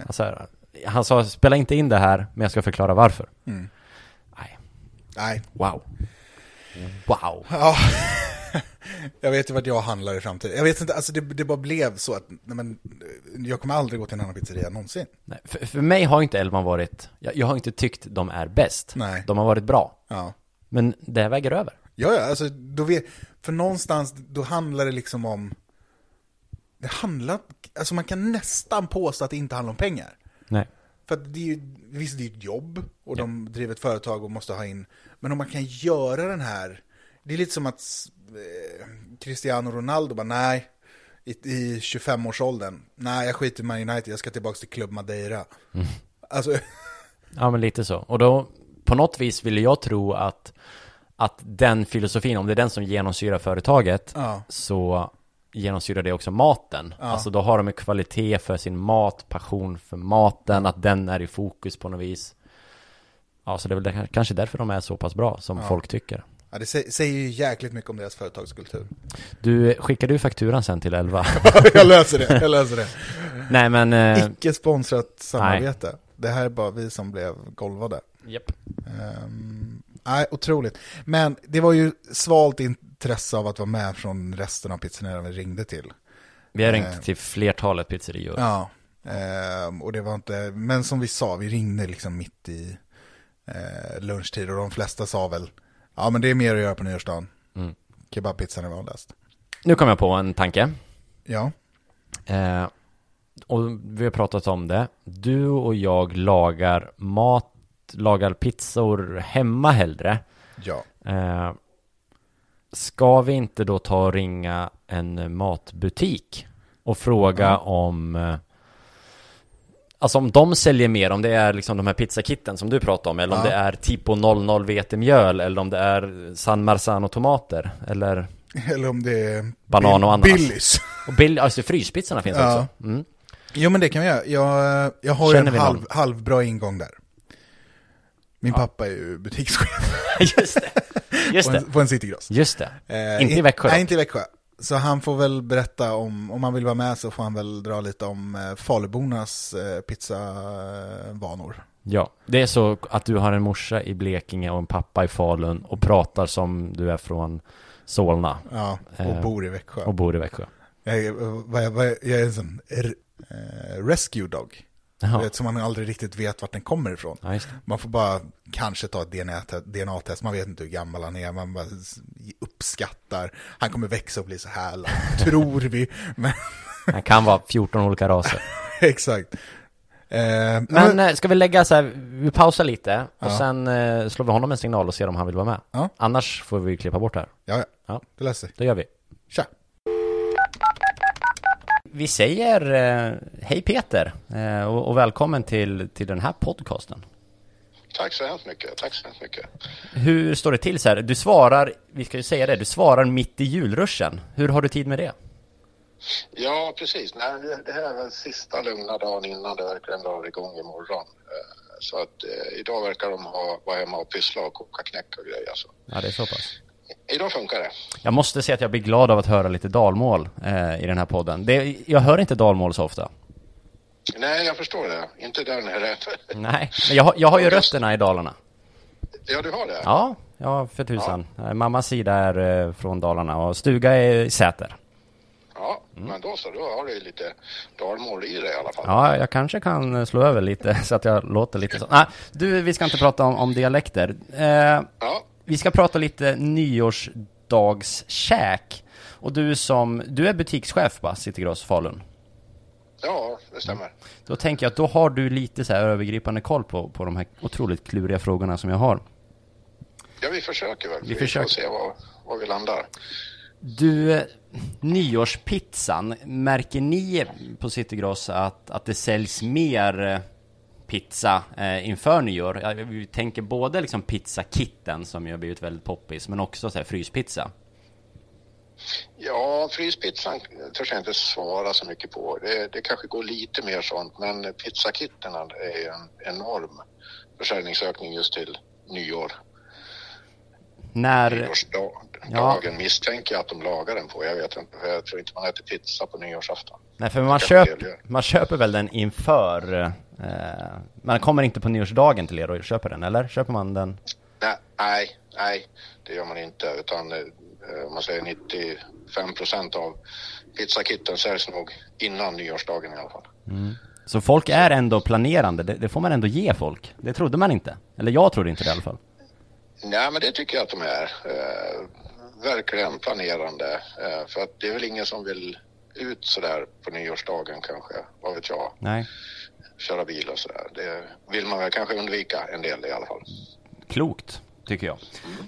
Speaker 3: alltså, Han sa spela inte in det här men jag ska förklara varför Nej
Speaker 2: Mm. Nej.
Speaker 3: Wow. Wow.
Speaker 2: Ja. jag vet ju vart jag handlar i framtiden. Jag vet inte, alltså det, det bara blev så att, nej men, jag kommer aldrig gå till en annan pizzeria någonsin.
Speaker 3: Nej, för, för mig har inte Elman varit, jag, jag har inte tyckt de är bäst.
Speaker 2: Nej.
Speaker 3: De har varit bra.
Speaker 2: Ja.
Speaker 3: Men det här väger över.
Speaker 2: Ja, ja, alltså då vet, för någonstans, då handlar det liksom om, det handlar, alltså man kan nästan påstå att det inte handlar om pengar.
Speaker 3: Nej.
Speaker 2: För att det är ju, visst det är ju ett jobb och de driver ett företag och måste ha in, men om man kan göra den här, det är lite som att eh, Cristiano Ronaldo bara nej, i, i 25-årsåldern, nej jag skiter i Man United, jag ska tillbaka till Club Madeira. Alltså,
Speaker 3: Ja, men lite så. Och då, på något vis ville jag tro att, att den filosofin, om det är den som genomsyrar företaget,
Speaker 2: Ja.
Speaker 3: så genomsyrar det också maten. Alltså då har de en kvalitet för sin mat, passion för maten, att den är i fokus på något vis. Ja, så det är väl det, kanske därför de är så pass bra som folk tycker.
Speaker 2: ja, det sä- säger ju jäkligt mycket om deras företagskultur.
Speaker 3: Du, skickar du fakturan sen till 11?
Speaker 2: jag löser det, jag löser det.
Speaker 3: [laughs] Nej, men... Eh,
Speaker 2: Icke sponsrat samarbete. Det här är bara vi som blev golvade.
Speaker 3: japp.
Speaker 2: Ehm, nej, otroligt. Men det var ju svalt intresse av att vara med från resten av pizzerian vi ringde till.
Speaker 3: Vi har ringt till flertalet pizzerior.
Speaker 2: Ja. ehm, och det var inte, men som vi sa, vi ringde liksom mitt i eh, lunchtid och de flesta sa väl, ja men det är mer att göra på nyårsdagen.
Speaker 3: Mm.
Speaker 2: Kebabpizzan är vanligast.
Speaker 3: Nu kom jag på en tanke.
Speaker 2: Ja,
Speaker 3: Eh, och vi har pratat om det. Du och jag lagar mat, lagar pizzor hemma hellre.
Speaker 2: ja.
Speaker 3: Eh, ska vi inte då ta och ringa en matbutik och fråga om eh, Alltså om de säljer mer, om det är liksom de här pizzakitten som du pratade om, eller om
Speaker 2: Ja.
Speaker 3: det är Tipo 00 vetemjöl, eller om det är San Marzano-tomater, eller
Speaker 2: Eller om det är
Speaker 3: banan och ananas.
Speaker 2: Billys.
Speaker 3: Och bill- alltså fryspizzorna finns
Speaker 2: Ja.
Speaker 3: också. Mm. [laughs]
Speaker 2: Jo men det kan vi göra. Jag, jag har ju
Speaker 3: Känner
Speaker 2: en
Speaker 3: vi någon?
Speaker 2: halv, halvbra ingång där. Min pappa är ju butikschef
Speaker 3: Just det. Just
Speaker 2: på
Speaker 3: det.
Speaker 2: en, på en citygross.
Speaker 3: Just det.
Speaker 2: Eh,
Speaker 3: Inte i Växjö
Speaker 2: Nej,
Speaker 3: dock.
Speaker 2: inte i Växjö. Så han får väl berätta om, om han vill vara med så får han väl dra lite om eh, Falubornas eh, pizzavanor.
Speaker 3: Ja. Det är så att du har en morsa i Blekinge och en pappa i Falun och pratar som du är från Solna
Speaker 2: Ja, och
Speaker 3: Eh,
Speaker 2: bor i Växjö.
Speaker 3: och bor i Växjö.
Speaker 2: Jag, är- eh, vad jag, vad jag, jag är en sån r- eh, rescue dog. Du
Speaker 3: Jaha.
Speaker 2: Vet, som man aldrig riktigt vet vart den kommer ifrån.
Speaker 3: Ja, just det.
Speaker 2: Man får bara kanske ta ett DNA-te- DNA-test, man vet inte hur gammal han är, man bara s- uppskattar, han kommer växa och bli så här [laughs] lång, tror vi. [laughs] Men,
Speaker 3: Han kan vara 14
Speaker 2: [laughs]
Speaker 3: olika raser.
Speaker 2: exakt. Eh, men,
Speaker 3: Men eh, ska vi lägga så här, vi pausar lite och
Speaker 2: Ja.
Speaker 3: sen eh, slår vi honom en signal och ser om han vill vara med.
Speaker 2: Ja.
Speaker 3: Annars får vi klippa bort det här.
Speaker 2: ja, ja,
Speaker 3: Ja,
Speaker 2: det löser sig.
Speaker 3: det gör vi.
Speaker 2: Tja.
Speaker 3: Vi säger eh, hej Peter eh, och, och välkommen till, till den här podcasten.
Speaker 5: Tack så hemskt mycket. Tack så hemskt mycket.
Speaker 3: Hur står det till så här? Du svarar, vi ska ju säga det, du svarar mitt i julruschen. Hur har du tid med det?
Speaker 5: Ja, precis. Nej, det- det här är väl sista lugna dagen innan det verkligen drar igång imorgon. Eh, Så att eh, idag verkar de ha, vara hemma och pyssla och koka knäck och grejer. Så.
Speaker 3: Ja, det är så pass.
Speaker 5: Idag funkar det.
Speaker 3: Jag måste säga att jag blir glad av att höra lite dalmål eh, i den här podden. Det, jag hör inte dalmål så ofta.
Speaker 5: Nej, jag förstår det. Inte där nere.
Speaker 3: Nej, men jag, har- jag har ju rötterna i Dalarna.
Speaker 5: [laughs] Ja, du har det?
Speaker 3: Ja, ja för tusan. Eh, Mammas sida är eh, från Dalarna och stuga är i Säter.
Speaker 5: Ja, men då så. Då har du ju lite dalmål i dig i alla fall.
Speaker 3: Mm. Ja, jag kanske kan eh, slå över lite [laughs] så att jag låter lite så. Nej, du, vi ska inte prata om, om dialekter. Eh,
Speaker 5: Ja,
Speaker 3: Vi ska prata lite nyårsdagskäk. Och du som, du är butikschef på City Gross Falun.
Speaker 5: ja det stämmer.
Speaker 3: Då tänker jag att då har du lite så här övergripande koll på, på de här otroligt kluriga frågorna som jag har.
Speaker 5: Ja, vi försöker väl.
Speaker 3: Vi försöker.
Speaker 5: får se var, var vi landar.
Speaker 3: Du, eh, nyårspizzan, märker ni på City Gross att, att det säljs mer eh, pizza eh, inför nyår? Ja, Vi tänker både liksom pizzakitten som ju har blivit väldigt poppis, men också så här fryspizza.
Speaker 5: Ja, fryspizzan törs jag inte svara så mycket på. Det, det kanske går lite mer sånt, men pizzakitterna är ju en enorm försäljningsökning just till nyår.
Speaker 3: När...
Speaker 5: Nyårsdagen
Speaker 3: Ja.
Speaker 5: misstänker jag att de lagar den på. Jag vet inte, för jag tror inte man äter pizza på nyårsafton.
Speaker 3: Nej, för man,
Speaker 5: Kanske
Speaker 3: köp,
Speaker 5: det gör.
Speaker 3: man köper väl den eh, inför... Eh, man kommer inte på nyårsdagen till er och köper den, eller? Köper man den?
Speaker 5: Nej, nej, nej, det gör man inte. Utan eh, om man säger 95 procent av pizzakitten säljs nog innan nyårsdagen i alla fall.
Speaker 3: Så folk är ändå planerande, det, det får man ändå ge folk. Det trodde man inte. Eller jag trodde inte det i alla fall.
Speaker 5: Nej, men det tycker jag att de är. Eh, verkligen planerande. Eh, för att det är väl ingen som vill ut sådär på nyårsdagen kanske, vad vet jag,
Speaker 3: Nej.
Speaker 5: köra bil och sådär. Det vill man väl kanske undvika en del i alla fall.
Speaker 3: Klokt, tycker jag.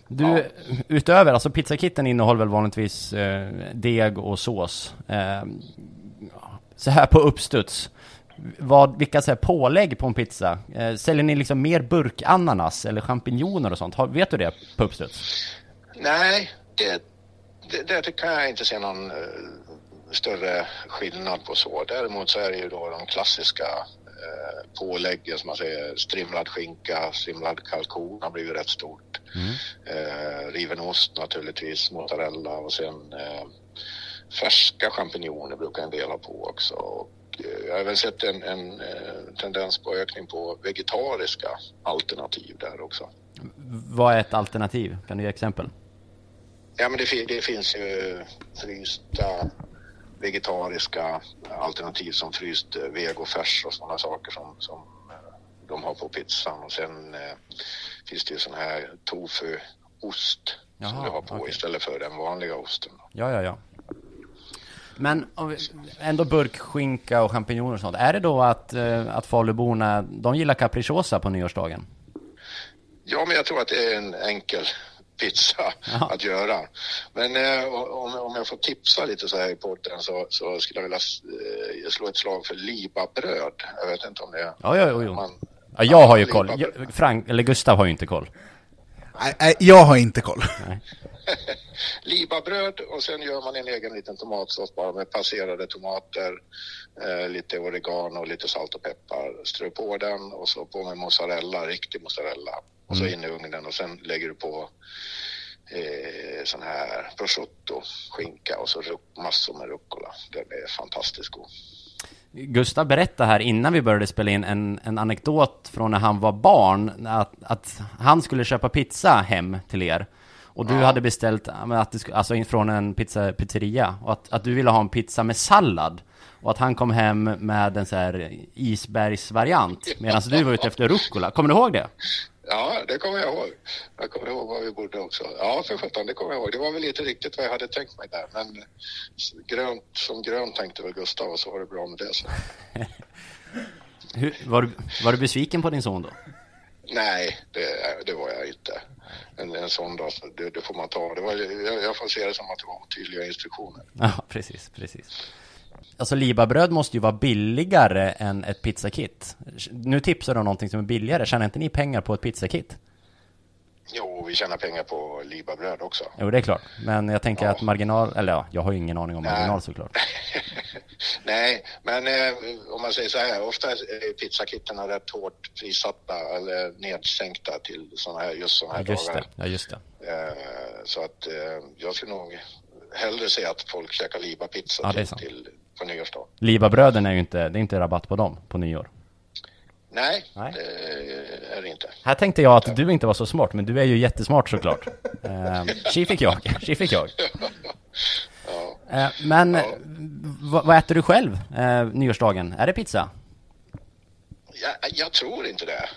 Speaker 3: Du, utöver, alltså pizzakitten innehåller väl vanligtvis eh, deg och sås. Eh, så här på uppstuds, vad, vilka så här pålägg på en pizza? Eh, säljer ni liksom mer burkananas eller champinjoner och sånt? Har, vet du det på uppstuds?
Speaker 5: Nej, det, det, det kan jag inte se någon eh, större skillnad på så. Däremot så är det ju då de klassiska eh, påläggen som man säger strimlad skinka, strimlad kalkon har blivit rätt stort. Eh, riven ost naturligtvis, mozzarella och sen eh, färska champinjoner brukar en del ha på också. Och, eh, jag har även sett en, en eh, tendens på ökning på vegetariska alternativ där också.
Speaker 3: Vad är ett alternativ? Kan du ge exempel?
Speaker 5: Ja, men det, fi- det finns ju frysta vegetariska alternativ som fryst eh, vegofärs och sådana saker som, som eh, de har på pizzan. Och sen eh, finns det ju sån här tofuost som
Speaker 3: Jaha,
Speaker 5: du har på
Speaker 3: okej.
Speaker 5: istället för den vanliga osten.
Speaker 3: Ja, ja, ja. Men om vi- ändå burkskinka och champinjoner och sånt. Är det då att, eh, att Faluborna, de gillar capricciosa på nyårsdagen?
Speaker 5: Ja, men jag tror att det är en enkel pizza
Speaker 3: Ja.
Speaker 5: att göra. Men eh, om, om jag får tipsa lite så här i podden så, så skulle jag vilja eh, slå ett slag för libabröd. Jag vet inte om det är...
Speaker 3: Ja, ja, jo, jo.
Speaker 5: Man,
Speaker 3: Ja, jag har ju koll.
Speaker 5: Libabröd.
Speaker 3: Jag- Frank, eller Gustav har ju inte koll.
Speaker 2: Nej, nej, jag har inte koll.
Speaker 5: libabröd och sen gör man en egen liten tomatsås bara med passerade tomater, eh, lite oregano och lite salt och peppar. Strö på den och så på med mozzarella, riktig mozzarella. Och så in i ugnen och sen lägger du på eh, sån här prosciutto, skinka och så ruc- massor med rucola. Den är fantastiskt god.
Speaker 3: Gustav berättade här innan vi började spela in en, en anekdot från när han var barn, att, att han skulle köpa pizza hem till er. Och du hade beställt, ja, men att det, sku- alltså in- från en pizza, pizzeria, och att, att du ville ha en pizza med sallad. Och att han kom hem med en så här isbergsvariant, medan du var ute efter rucola. Kommer du ihåg det?
Speaker 5: Ja, det kommer jag ihåg. Jag kommer ihåg vad vi bodde också. Ja, för sjutton, det kommer jag ihåg. Det var väl inte riktigt vad jag hade tänkt mig där. Men grönt som grönt tänkte väl Gustav och så var det bra med det. Så.
Speaker 3: Hur, var, du, var du besviken på din son då?
Speaker 5: Nej, det, det var jag inte. En, en sån dag, så det, det får man ta. Det var, jag, jag får se det som att det var otydliga instruktioner.
Speaker 3: Ja, precis, precis. Alltså libabröd måste ju vara billigare än ett pizzakit. Nu tipsar du om någonting som är billigare. Tjänar inte ni pengar på ett pizzakit?
Speaker 5: Jo, vi tjänar pengar på libabröd också.
Speaker 3: Jo, det är klart. Men jag tänker
Speaker 5: Ja.
Speaker 3: att marginal, eller ja, jag har ju ingen aning om
Speaker 5: Nej.
Speaker 3: marginal såklart.
Speaker 5: [laughs] Nej, men eh, om man säger så här, ofta är pizzakitterna rätt hårt prissatta eller nedsänkta till såna här, just såna
Speaker 3: Ja,
Speaker 5: här
Speaker 3: just
Speaker 5: dagar.
Speaker 3: det. Ja, just det.
Speaker 5: Eh, så att eh, jag skulle nog hellre se att folk käkar libapizza
Speaker 3: Ja, det är
Speaker 5: till,
Speaker 3: sant.
Speaker 5: till på nyårsdagen.
Speaker 3: Libabröden är ju inte, det är inte rabatt på dem på nyår.
Speaker 5: Nej,
Speaker 3: Nej.
Speaker 5: det är det inte. [laughs]
Speaker 3: Här tänkte jag att du inte var så smart, men du är ju jättesmart såklart. Eh, Tji fick jag, [laughs] tji fick jag.
Speaker 5: Ja.
Speaker 3: Eh, men vad- vad äter du själv eh, nyårsdagen? Är det pizza?
Speaker 5: Jag, jag tror inte det,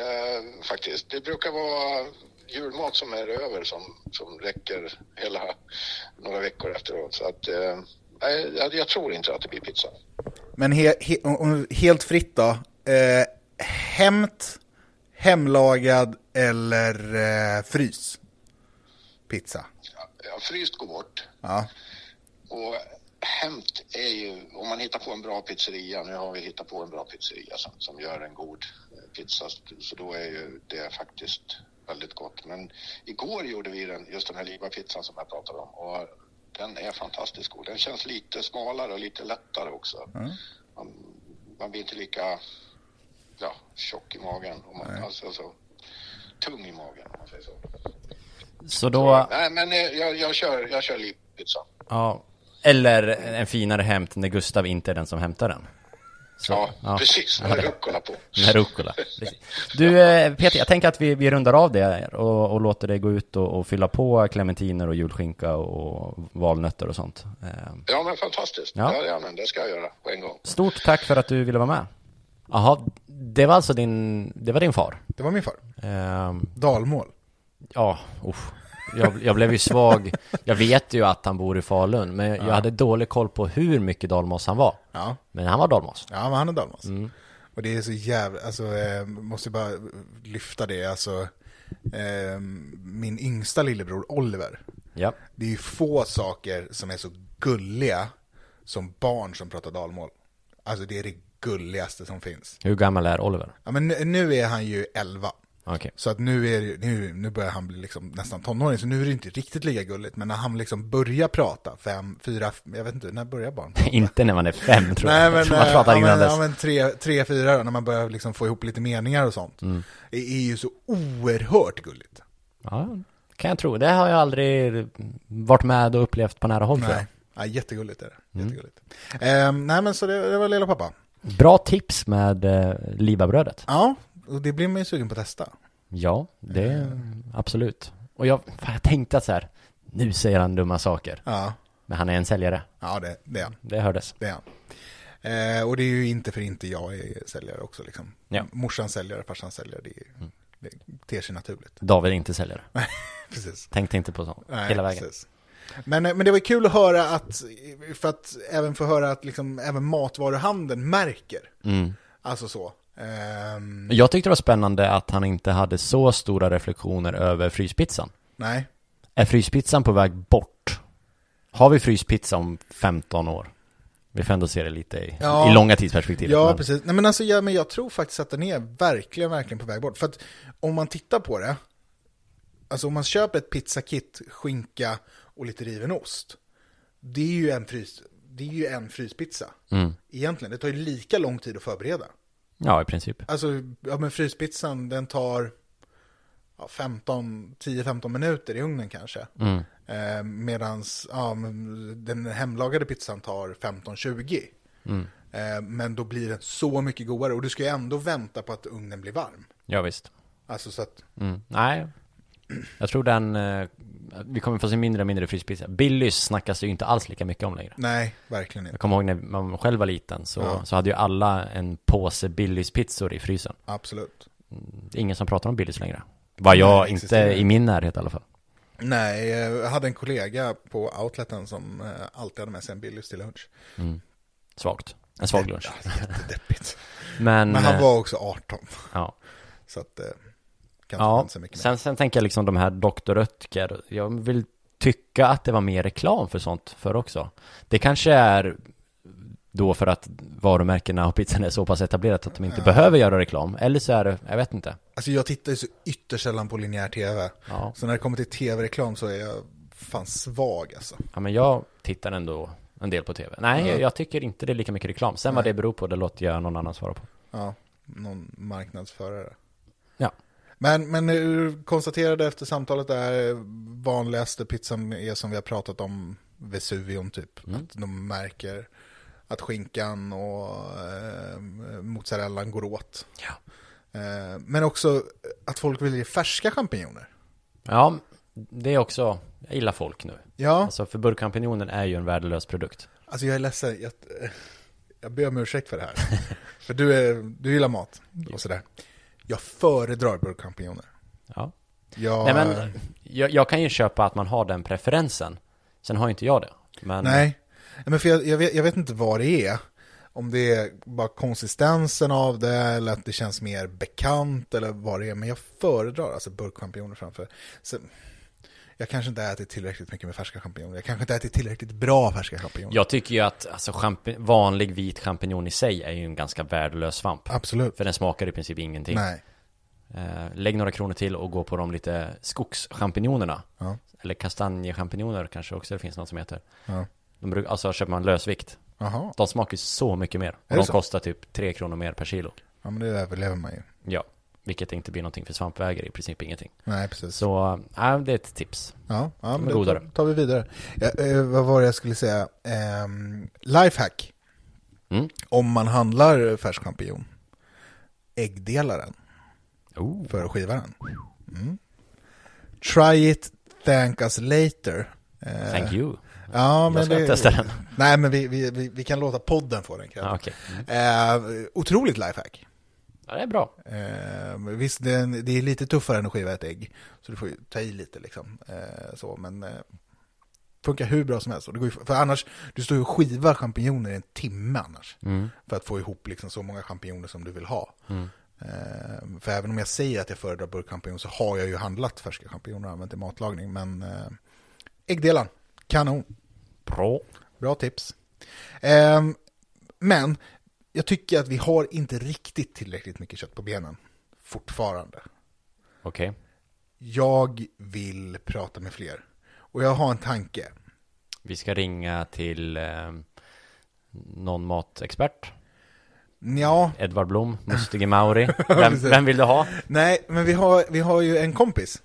Speaker 5: eh, faktiskt. Det brukar vara julmat som är över som, som räcker hela några veckor efteråt. Så att, eh, nej, jag, jag tror inte att det blir pizza.
Speaker 2: Men he, he, om- helt fritt då. Eh, hämt, hemlagad eller eh, frys? Pizza.
Speaker 5: Ja, fryst går bort.
Speaker 2: Ja.
Speaker 5: Och hämt är ju, om man hittar på en bra pizzeria, nu har vi hittat på en bra pizzeria som, som gör en god eh, pizza, så då är ju det faktiskt väldigt gott. Men igår gjorde vi den, just den här Liba-pizzan som jag pratade om och den är fantastiskt god. Den känns lite smalare och lite lättare också. Man, man blir inte lika ja, tjock i magen, om man, alltså så tung i magen om man säger så.
Speaker 3: Så då...
Speaker 5: Nej men eh, jag, jag kör, jag kör Liba-pizza.
Speaker 3: Ja. Eller en finare hämt när Gustav inte är den som hämtar den. Så,
Speaker 5: ja, precis. Med rucola på.
Speaker 3: Med rucola. Precis. Du eh, Peter, jag tänker att vi, vi rundar av det här och, och låter dig gå ut och, och fylla på clementiner och julskinka och valnötter och sånt. Eh,
Speaker 5: Ja, men fantastiskt.
Speaker 3: Ja.
Speaker 5: Ja. Ja, men det ska jag göra på en gång.
Speaker 3: Stort tack för att du ville vara med. Jaha, det var alltså din, det var din far?
Speaker 2: Det var min far.
Speaker 3: Ehm,
Speaker 2: Dalmål.
Speaker 3: ja, usch. Jag, jag blev ju svag. Jag vet ju att han bor i Falun, men jag hade dålig koll på hur mycket dalmas han var.
Speaker 2: Ja.
Speaker 3: Men han var dalmas.
Speaker 2: Ja, men han är dalmas. Och det är så jävla, alltså, eh, måste jag bara lyfta det, alltså, eh, min yngsta lillebror Oliver,
Speaker 3: Ja.
Speaker 2: det är ju få saker som är så gulliga som barn som pratar dalmål. Alltså det är det gulligaste som finns.
Speaker 3: Hur gammal är Oliver?
Speaker 2: Ja, men nu, nu är han ju 11.
Speaker 3: Okej.
Speaker 2: Så att nu, är, det- nu, nu börjar han bli liksom nästan tonåring, så nu är det inte riktigt lika gulligt. Men när han liksom börjar prata, fem, fyra, f- jag vet inte, när börjar barn?
Speaker 3: [laughs] Inte när man är fem tror
Speaker 2: Nej
Speaker 3: jag.
Speaker 2: men,
Speaker 3: [laughs] man
Speaker 2: eh,
Speaker 3: pratar
Speaker 2: ja,
Speaker 3: innan
Speaker 2: men,
Speaker 3: dess.
Speaker 2: ja, men tre, tre, fyra då, när man börjar liksom få ihop lite meningar och sånt.
Speaker 3: Mm.
Speaker 2: Det är ju så oerhört gulligt.
Speaker 3: Ja, kan jag tro. Det har jag aldrig varit med och upplevt på nära håll tror jag. Mm.
Speaker 2: Nej, ja, jättegulligt är det. Jättegulligt. Ehm, nej men så det, det var lilla pappa.
Speaker 3: Bra tips med eh, livabrödet.
Speaker 2: Ja, och det blir man ju sugen på att testa.
Speaker 3: Ja, det Eh, absolut. Och jag, fan, jag tänkte att så här, nu säger han dumma saker.
Speaker 2: Ja,
Speaker 3: Men han är en säljare.
Speaker 2: ja det, det är han.
Speaker 3: Det hördes.
Speaker 2: Det är han. Eh, och det är ju inte för inte jag är säljare också liksom.
Speaker 3: Ja. Mm.
Speaker 2: Morsan säljare, farsan säljare, det, är, det ter sig naturligt. [laughs]
Speaker 3: David är inte säljare.
Speaker 2: Precis.
Speaker 3: Tänkte inte på sånt
Speaker 2: Nej,
Speaker 3: hela vägen.
Speaker 2: precis. Men, eh, men det var kul att höra att, för att även få höra att liksom, även matvaruhandeln märker.
Speaker 3: Mm.
Speaker 2: Alltså så. Ehm,
Speaker 3: Jag tyckte det var spännande att han inte hade så stora reflektioner över fryspizzan.
Speaker 2: nej,
Speaker 3: Är fryspizzan på väg bort? Har vi fryspizza om 15 år? Vi får ändå se det lite i,
Speaker 2: Ja.
Speaker 3: i långa tidsperspektiv.
Speaker 2: ja
Speaker 3: men-
Speaker 2: precis. Nej, men alltså, ja, men jag tror faktiskt att den är verkligen, verkligen på väg bort. För att om man tittar på det, alltså om man köper ett pizzakit, skinka och lite riven ost, det är ju en, frys, det är ju en fryspizza. Egentligen, det tar ju lika lång tid att förbereda.
Speaker 3: Ja, i princip.
Speaker 2: Alltså, ja men fryspizzan den tar ja, 15, 10-15 minuter i ugnen kanske. Mm. Eh, medans ja, men den hemlagade pizzan tar 15-20. Eh, men då blir den så mycket godare och du ska ju ändå vänta på att ugnen blir varm.
Speaker 3: Ja, visst.
Speaker 2: Alltså så att,
Speaker 3: Mm. Nej, jag tror den... eh, Vi kommer få se mindre och mindre fryspizza. Billys snackas det ju inte alls lika mycket om längre.
Speaker 2: nej, verkligen inte.
Speaker 3: Jag kommer ihåg när man själv var liten så, så hade ju alla en påse Billys pizzor i frysen.
Speaker 2: Absolut.
Speaker 3: Det är ingen som pratar om Billys längre. Vad jag
Speaker 2: Nej, det
Speaker 3: inte
Speaker 2: existerar
Speaker 3: i min närhet i alla fall.
Speaker 2: Nej, eh, jag hade en kollega på outleten som eh, alltid hade med sig en Billys till lunch.
Speaker 3: Svagt. En svag lunch.
Speaker 2: Ja, jättedeppigt.
Speaker 3: [laughs] Men,
Speaker 2: Men han
Speaker 3: eh,
Speaker 2: var också 18,
Speaker 3: ja.
Speaker 2: så att eh, kanske
Speaker 3: ja.
Speaker 2: inte så mycket mer.
Speaker 3: Sen, sen tänker jag liksom de här Dr. Röttger. Jag vill tycka att det var mer reklam för sånt för också. Det kanske är då för att varumärkena och pizzan är så pass etablerat att de inte behöver göra reklam. Eller så är det, jag vet inte.
Speaker 2: Alltså jag tittar ju så ytterst sällan på linjär tv.
Speaker 3: Ja.
Speaker 2: Så när det kommer till tv-reklam så är jag fan svag alltså.
Speaker 3: Ja, men jag tittar ändå en del på tv. Nej, jag tycker inte det är lika mycket reklam. Sen vad det beror på, det låter jag någon annan svara på.
Speaker 2: Ja, någon marknadsförare.
Speaker 3: Ja.
Speaker 2: Men, men du konstaterade efter samtalet där, vanligaste pizzan är som vi har pratat om, Vesuvion typ. Att de märker att skinkan och eh, mozzarellan går åt.
Speaker 3: Ja.
Speaker 2: Eh, men också att folk vill ge färska champinjoner.
Speaker 3: Ja, det är också, jag gillar folk nu.
Speaker 2: Ja.
Speaker 3: Alltså för burkchampinjonen är ju en värdelös produkt.
Speaker 2: Alltså jag är ledsen, jag, jag ber om ursäkt för det
Speaker 3: [laughs]
Speaker 2: här. för du, är, du gillar mat och sådär. Jag föredrar burkchampinjoner.
Speaker 3: Ja.
Speaker 2: Jag,
Speaker 3: Nej men, jag, jag kan ju köpa att man har den preferensen. Sen har ju inte jag det. Men,
Speaker 2: Nej, Nej, men för jag, jag, vet, jag vet inte vad det är. Om det är bara konsistensen av det eller att det känns mer bekant eller vad det är. Men jag föredrar alltså burkchampinjoner framför. Så, jag kanske inte har ätit tillräckligt mycket med färska champinjoner. Jag kanske inte har ätit tillräckligt bra färska champinjoner.
Speaker 3: Jag tycker ju att alltså, champi- vanlig vit champinjon i sig är ju en ganska värdelös svamp.
Speaker 2: Absolut.
Speaker 3: För den smakar i princip ingenting.
Speaker 2: Nej.
Speaker 3: Eh, lägg några kronor till och gå på de lite skogschampinjonerna.
Speaker 2: Ja.
Speaker 3: Eller kastanjechampinjoner kanske också det finns något som heter.
Speaker 2: Ja.
Speaker 3: De bruk- alltså köper man lösvikt.
Speaker 2: Jaha,
Speaker 3: De smakar ju så mycket mer. Och
Speaker 2: det
Speaker 3: de
Speaker 2: så?
Speaker 3: kostar typ 3 kronor mer per kilo.
Speaker 2: ja, men det överlever man ju.
Speaker 3: Ja, vilket inte blir någonting för svampväger i princip ingenting.
Speaker 2: Nej, precis.
Speaker 3: Så, äh, det är ett tips.
Speaker 2: Ja, ja men
Speaker 3: är
Speaker 2: då
Speaker 3: godare.
Speaker 2: tar, tar vi vidare. Ja, eh, vad var det jag skulle säga? Ehm, lifehack.
Speaker 3: Mm.
Speaker 2: Om man handlar färsk champinjon. Äggdelar den
Speaker 3: Oh.
Speaker 2: för att skiva den. Mm. Try it, thank us later. Eh,
Speaker 3: Thank you.
Speaker 2: Ja, men
Speaker 3: ska
Speaker 2: det,
Speaker 3: testa den.
Speaker 2: Nej, men vi, vi, vi, vi kan låta podden få den kredden.
Speaker 3: Ja, Ah, okej.
Speaker 2: eh, otroligt lifehack.
Speaker 3: Ja, det är bra.
Speaker 2: Eh, visst, det är, en- det är lite tuffare än att skiva ett ägg. Så du får ju ta i lite liksom. Eh, så, men eh, funkar hur bra som helst. Och det går ju, för annars, du står ju och skivar champinjoner i en timme annars. För att få ihop liksom så många champinjoner som du vill ha. Eh, för även om jag säger att jag föredrar burkchampinjon så har jag ju handlat färska champinjoner och använt i matlagning. Men eh, äggdelar, kanon.
Speaker 3: Bra.
Speaker 2: Bra tips. Ehm, men jag tycker att vi har inte riktigt tillräckligt mycket kött på benen fortfarande.
Speaker 3: Okej.
Speaker 2: Jag vill prata med fler. Och jag har en tanke.
Speaker 3: Vi ska ringa till eh, någon matexpert.
Speaker 2: Ja,
Speaker 3: Edvard Blom,
Speaker 2: [laughs]
Speaker 3: Mustige Mauri. Vem, vem vill du ha?
Speaker 2: nej, men vi har, vi har ju en kompis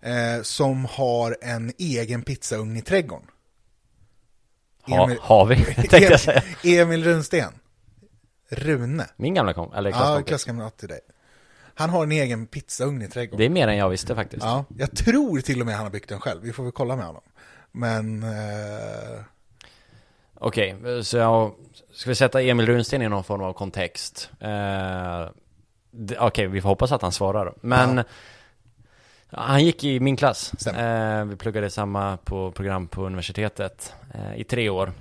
Speaker 2: eh, som har en egen pizzaugn i trädgården.
Speaker 3: [laughs] ha
Speaker 2: [laughs]
Speaker 3: har vi, tänkte jag säga.
Speaker 2: Emil Runsten. Rune.
Speaker 3: Min gamla kom, eller
Speaker 2: Ja,
Speaker 3: klasskompis.
Speaker 2: klasskamrat till dig. Han har en egen pizzaugn i trädgården.
Speaker 3: det är mer än jag visste faktiskt.
Speaker 2: Ja, jag tror till och med han har byggt den själv. Vi får väl kolla med honom. Men eh,
Speaker 3: Okej, så jag, ska vi sätta Emil Runsten i någon form av kontext? Eh, det- Okej, vi får hoppas att han svarar då. Men han gick i min klass.
Speaker 2: Stämmer.
Speaker 3: Eh, vi pluggade samma på program på universitetet eh, i tre år.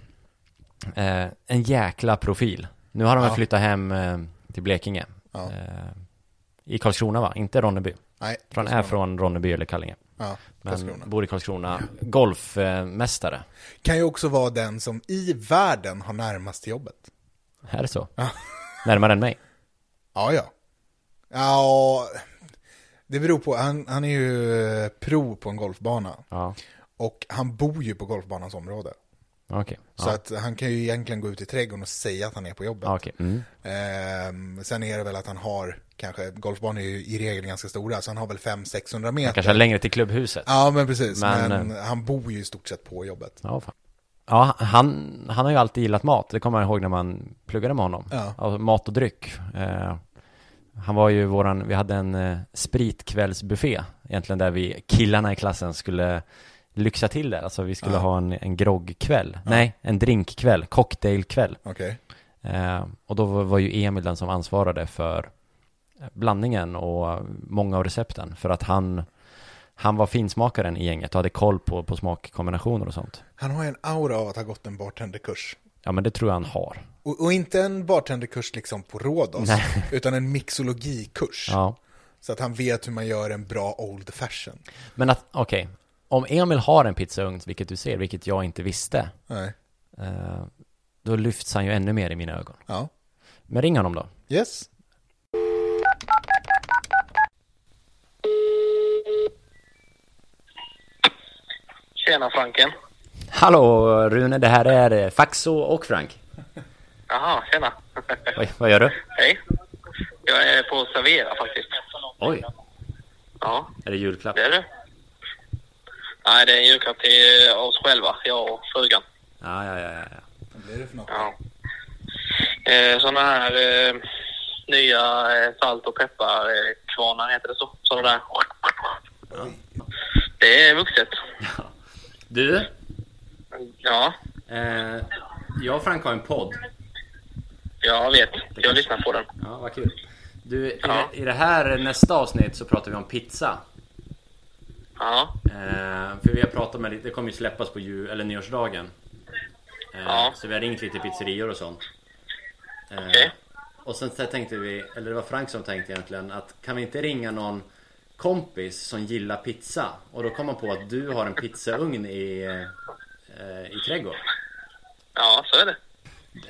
Speaker 3: Eh, en jäkla profil. Nu har de väl
Speaker 2: Ja.
Speaker 3: flyttat hem eh, till Blekinge.
Speaker 2: Ja.
Speaker 3: Eh, I Karlskrona va? Inte Ronneby.
Speaker 2: nej.
Speaker 3: För han är från Ronneby eller Kallinge.
Speaker 2: Ja,
Speaker 3: Men
Speaker 2: Karlskrona.
Speaker 3: bor i Karlskrona. Golfmästare.
Speaker 2: Kan ju också vara den som i världen har närmast till jobbet.
Speaker 3: Här är så.
Speaker 2: Ja.
Speaker 3: Närmare
Speaker 2: [laughs]
Speaker 3: än mig.
Speaker 2: Ja, ja. Ja, det beror på. Han, han är ju eh, pro på en golfbana.
Speaker 3: Ja.
Speaker 2: Och han bor ju på golfbanans område.
Speaker 3: Okej.
Speaker 2: Så att han kan ju egentligen gå ut i trädgården och säga att han är på jobbet.
Speaker 3: Ja, okej. Mm.
Speaker 2: Ehm, sen är det väl att han har, kanske, golfbanor är ju i regel ganska stora, så han har väl 500-600 meter.
Speaker 3: Kanske längre till klubbhuset.
Speaker 2: Ja, men precis. Men,
Speaker 3: Men, eh.
Speaker 2: han bor ju i stort sett på jobbet.
Speaker 3: Ja, fan. Ja, han, han har ju alltid gillat mat. Det kommer jag ihåg när man pluggade med honom.
Speaker 2: Ja.
Speaker 3: Alltså, mat och dryck. Eh, han var ju våran, vi hade en eh, spritkvällsbuffé. Egentligen där vi killarna i klassen skulle lyxa till det. Alltså vi skulle
Speaker 2: Ja.
Speaker 3: ha en, en groggkväll. Nej, en drinkkväll. Cocktailkväll.
Speaker 2: Okej.
Speaker 3: Eh, och då var var ju Emil den som ansvarade för eh, blandningen och många av recepten. För att han, han var finsmakaren i gänget och hade koll på, på smakkombinationer och sånt.
Speaker 2: Han har ju en aura av att ha gått en bartenderkurs.
Speaker 3: Ja men det tror jag han har.
Speaker 2: Och, och inte en bartenderkurs liksom på Rhodos, [laughs] utan en mixologikurs.
Speaker 3: Ja.
Speaker 2: Så att han vet hur man gör en bra old fashion.
Speaker 3: Men att, okej. Om Emil har en pizzaugn, vilket du ser, vilket jag inte visste,
Speaker 2: Nej.
Speaker 3: eh, då lyfts han ju ännu mer i mina ögon.
Speaker 2: Ja.
Speaker 3: Men ring honom då.
Speaker 2: Yes.
Speaker 5: Tjena Franken.
Speaker 3: Hallå Rune, det här är eh, Faxo och Frank.
Speaker 5: Jaha, tjena. [laughs]
Speaker 3: Oj, vad gör du?
Speaker 5: Hej. Jag är på Servera faktiskt.
Speaker 3: Oj,
Speaker 5: Ja,
Speaker 3: är det julklapp?
Speaker 5: det är du. Nej, det är en julklapp till eh, oss själva, jag och frugan.
Speaker 3: Ja, ja, ja, ja. ja.
Speaker 2: Vad är det för något?
Speaker 5: Ja. Eh, såna här eh, nya eh, salt och peppar eh, kvarnar heter det så? Såna där. Det är vuxet.
Speaker 3: Du,
Speaker 5: Ja,
Speaker 3: Eh, jag och Frank har en podd.
Speaker 5: jag vet. Jag lyssnar på den.
Speaker 3: Ja, vad kul. Du, i,
Speaker 5: Ja.
Speaker 3: det, i det här nästa avsnitt så pratar vi om pizza.
Speaker 5: Ja,
Speaker 3: Eh, för vi har pratat med lite, det kommer ju släppas på jul, eller nyårsdagen. Eh,
Speaker 5: Ja.
Speaker 3: Så vi har ringt lite pizzerior och sånt. Eh,
Speaker 5: Okej.
Speaker 3: Och sen så tänkte vi, eller det var Frank som tänkte egentligen att kan vi inte ringa någon kompis som gillar pizza? Och då kom man på att du har en pizzaugn i, eh, i trädgården.
Speaker 5: ja så är det.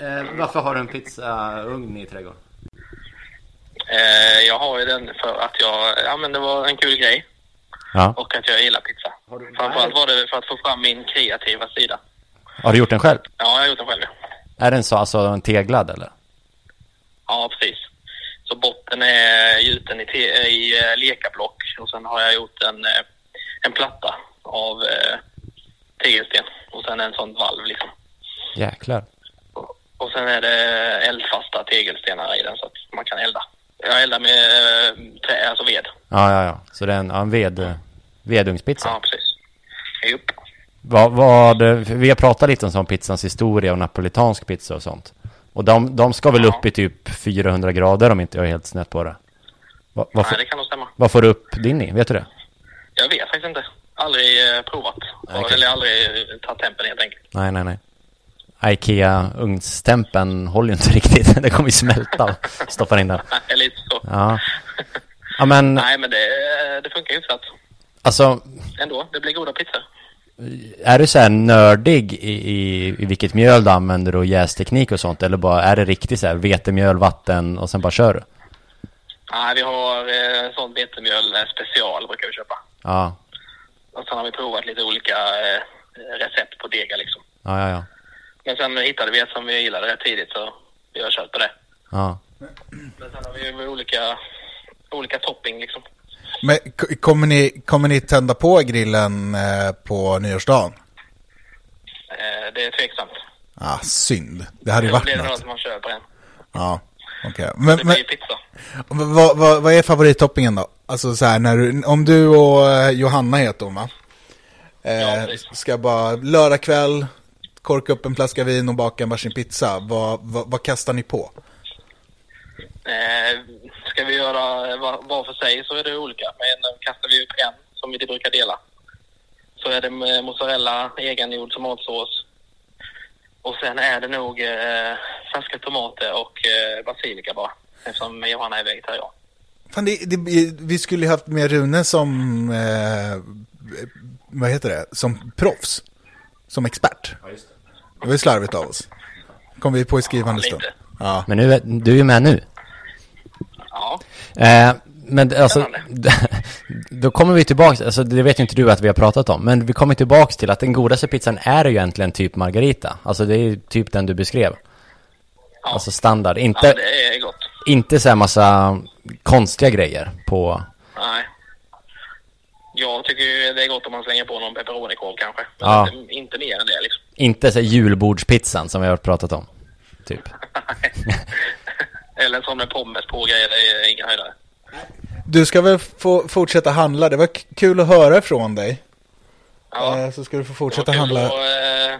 Speaker 3: Eh, varför har du en pizzaugn i trädgården?
Speaker 5: Eh, jag har ju den för att jag, ja men det var en kul grej.
Speaker 3: Ja.
Speaker 5: Och att jag gillar pizza.
Speaker 3: Har du-
Speaker 5: Framförallt var det för att få fram min kreativa sida.
Speaker 3: Har du gjort den själv?
Speaker 5: Ja, jag har gjort den själv. ja.
Speaker 3: Är den så, alltså en teglad eller?
Speaker 5: Ja, precis. Så botten är gjuten i, te- i eh, lekablock och sen har jag gjort en, eh, en platta av eh, tegelsten och sen en sån valv liksom.
Speaker 3: Jäklar.
Speaker 5: Och- Och
Speaker 6: sen är det eldfasta tegelstenar i den så att man kan elda. Jag eldar med eh, trä, alltså ved.
Speaker 3: Ja, ja, ja. Så det är en, ja, en ved, eh, vedugnspizza.
Speaker 6: Ja, precis. Jupp.
Speaker 3: Vad, vad, för vi har pratat lite om sån pizzans historia och napolitansk pizza och sånt. Och de, de ska väl
Speaker 6: Ja.
Speaker 3: upp i typ 400 grader om inte jag är helt snett på det. Vad, vad,
Speaker 6: Nej,
Speaker 3: får,
Speaker 6: det kan nog stämma.
Speaker 3: vad får du upp din i? Vet du det?
Speaker 6: Jag vet faktiskt inte. Aldrig eh, provat.
Speaker 3: okej.
Speaker 6: Eller aldrig eh, tagit tempen helt enkelt. [laughs]
Speaker 3: Nej, nej, nej. Ikea-ugnstempen håller ju inte [laughs] riktigt. Den kommer ju smälta. Stoppar in den.
Speaker 6: Nej, lite så.
Speaker 3: Ja. Ja, men
Speaker 6: [laughs] Nej, men det, eh, det funkar hyfsat
Speaker 3: alltså,
Speaker 6: ändå. Det blir goda pizzor.
Speaker 3: är du så här nördig i, i, i vilket mjöl du använder och jästeknik och sånt? Eller bara är det riktigt så här vetemjöl, vatten och sen bara kör du?
Speaker 6: Nej, vi har eh, sånt vetemjöl eh, special brukar vi köpa.
Speaker 3: Ja,
Speaker 6: Och sen har vi provat lite olika eh, recept på degar liksom.
Speaker 3: ja, ja. ja.
Speaker 6: Men sen hittade vi ett som vi gillade rätt tidigt så vi har kört på det.
Speaker 3: Ja,
Speaker 6: Men sen har vi ju olika, olika topping liksom.
Speaker 2: Men k- kommer ni, kommer ni tända på grillen eh, på nyårsdagen?
Speaker 6: Eh, det är tveksamt.
Speaker 2: Ah, synd. Det hade ju
Speaker 6: Då blir
Speaker 2: varit
Speaker 6: det något
Speaker 2: något.
Speaker 6: som man köper en.
Speaker 2: Ja, okej. Men,
Speaker 6: Det
Speaker 2: men
Speaker 6: blir ju pizza.
Speaker 2: vad, vad, vad är favorittoppingen då? Alltså så här, när du, om du och eh, Johanna heter hon va? Eh,
Speaker 6: precis.
Speaker 2: ska bara lördag kväll, korka upp en flaska vin och baka en varsin pizza. Vad, vad, vad kastar ni på?
Speaker 6: Eh, ska vi göra var, var för sig så är det olika. Men kastar vi upp en som vi brukar dela så är det med mozzarella, egengjord tomatsås. Och sen är det nog eh, färska tomater och eh, basilika bara. Eftersom Johanna är vegetarian.
Speaker 2: Fan, det, det, vi skulle ju haft med Rune som, eh, vad heter det, som proffs. Som expert. Det var ju slarvigt av oss. Kom vi på i skrivande
Speaker 6: Ja,
Speaker 2: stund.
Speaker 6: lite.
Speaker 2: Ja.
Speaker 3: men nu, är- du är ju med nu.
Speaker 6: Ja,
Speaker 3: Eh, men det- alltså,
Speaker 6: Spännande.
Speaker 3: [laughs] då kommer vi tillbaka, alltså det vet ju inte du att vi har pratat om, men vi kommer tillbaka till att den godaste pizzan är ju egentligen typ margarita. Alltså det är ju typ den du beskrev. Alltså standard,
Speaker 6: ja
Speaker 3: inte,
Speaker 6: det är gott.
Speaker 3: inte så här massa konstiga grejer på...
Speaker 6: Nej. Jag tycker ju det är gott om man slänger på någon pepperonikorv kanske. Men
Speaker 3: Ja.
Speaker 6: inte, inte mer än det liksom. [laughs]
Speaker 3: Inte så här julbordspizzan som vi har pratat om. Typ.
Speaker 6: Eller som med pommes på och grejer, det är ingen höjdare.
Speaker 2: Du ska väl få fortsätta handla, det var k- kul att höra från dig.
Speaker 6: Ja.
Speaker 2: Eh, så ska du få
Speaker 6: Det var
Speaker 2: fortsätta
Speaker 6: kul
Speaker 2: handla.
Speaker 6: att, eh,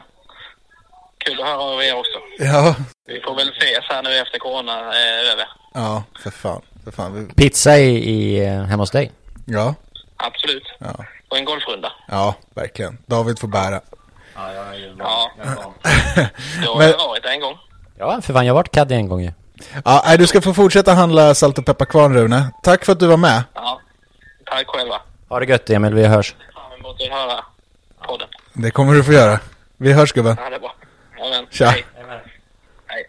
Speaker 6: Kul att höra av er också.
Speaker 2: Ja.
Speaker 6: Vi får väl ses här nu efter corona är över.
Speaker 2: ja, för fan. För fan. vi-
Speaker 3: Pizza i, i, eh, hemma hos dig.
Speaker 2: Ja,
Speaker 6: Absolut.
Speaker 2: Ja.
Speaker 6: Och en golfrunda.
Speaker 2: ja, verkligen. David får bära.
Speaker 6: Ja. Jag har
Speaker 2: Men-
Speaker 6: varit där en gång.
Speaker 3: Ja, för fan, jag har varit caddy en gång ju.
Speaker 2: Ja, nej, du ska få fortsätta handla salt och pepparkvarn Rune. Tack för att du var med.
Speaker 6: Ja. Tack själva.
Speaker 3: Ha det gött Emil, vi hörs.
Speaker 6: Fram emot att höra podden.
Speaker 2: Det kommer du få göra. Vi hörs gubben.
Speaker 6: Ja, det är bra. Ja, men,
Speaker 2: Tja.
Speaker 6: Hej. Hej.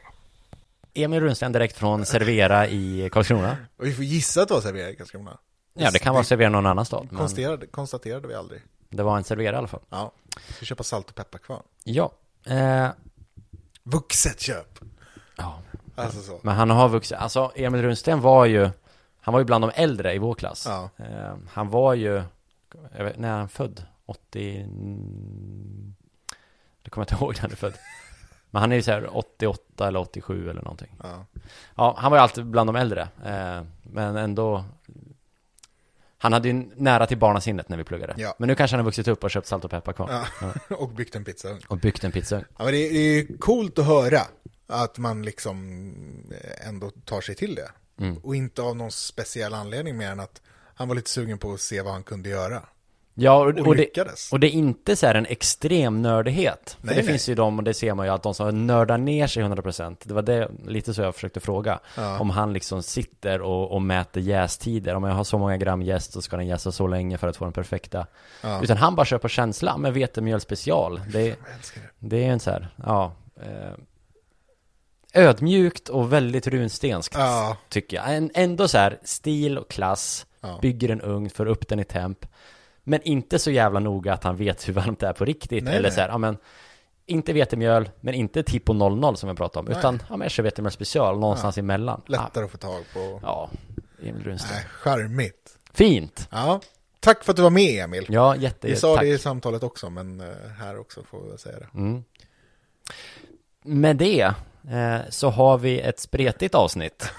Speaker 3: Emil Runsten direkt från Servera i Karlskrona.
Speaker 2: Och vi får gissa att det var servera i Karlskrona.
Speaker 3: Ja, det kan vara Servera någon annan stad. Men
Speaker 2: Konstaterade, konstaterade vi aldrig.
Speaker 3: det var en Servera i alla fall.
Speaker 2: Ja. Vi ska köpa salt och pepparkvarn.
Speaker 3: Ja. Eh,
Speaker 2: Vuxet köp!
Speaker 3: ja.
Speaker 2: Alltså så.
Speaker 3: Men han har vuxit, alltså Emil Runsten var ju, han var ju bland de äldre i vår klass.
Speaker 2: Ja.
Speaker 3: Eh, han var ju, jag vet, när är han född? 80, mm, det kommer jag inte ihåg när han
Speaker 2: [laughs]
Speaker 3: är född. Men han är ju så här 88 eller 87 eller någonting.
Speaker 2: Ja.
Speaker 3: Ja, han var ju alltid bland de äldre. Eh, men ändå, han hade ju nära till barnasinnet när vi pluggade.
Speaker 2: Ja.
Speaker 3: Men nu kanske han har vuxit upp och köpt salt och peppar kvar.
Speaker 2: Ja. [laughs] och byggt en pizzaugn.
Speaker 3: Och byggt en pizza.
Speaker 2: Ja, men det, är- det är ju coolt att höra att man liksom eh, ändå tar sig till det.
Speaker 3: Mm.
Speaker 2: Och inte av någon speciell anledning mer än att han var lite sugen på att se vad han kunde göra.
Speaker 3: Ja, och, och, det,
Speaker 2: lyckades.
Speaker 3: och det är inte så här en extrem nördighet. För
Speaker 2: Nej,
Speaker 3: det
Speaker 2: nej.
Speaker 3: finns ju de, och det ser man ju, att de som nördar ner sig 100%. Det var det, lite så jag försökte fråga. Om han liksom sitter och, och mäter jästider. Om jag har så många gram jäst så ska den jäsa så länge för att få den perfekta. Utan han bara kör på känsla med vetemjöl special. Det, det är en så här, ja. Eh, ödmjukt och väldigt runstenskt
Speaker 2: Ja.
Speaker 3: tycker jag. En- Ändå så här, stil och klass,
Speaker 2: Ja.
Speaker 3: bygger en ugn, för upp den i temp. Men inte så jävla noga att han vet hur varmt det är på riktigt.
Speaker 2: Nej,
Speaker 3: Eller
Speaker 2: nej.
Speaker 3: så här, ja men, inte vetemjöl, men inte Tipo 00 som vi pratade om. Utan, ja men jag kör vetemjöl special, någonstans emellan.
Speaker 2: Lättare att få tag på.
Speaker 3: Ja, ja Emil Runström.
Speaker 2: Nej, charmigt.
Speaker 3: Fint!
Speaker 2: Ja. Tack för att du var med Emil.
Speaker 3: Ja, jätte,
Speaker 2: Vi sa
Speaker 3: tack. Mm.
Speaker 2: det i samtalet också, men eh, här också får vi väl säga det.
Speaker 3: Med det eh, så har vi ett spretigt avsnitt.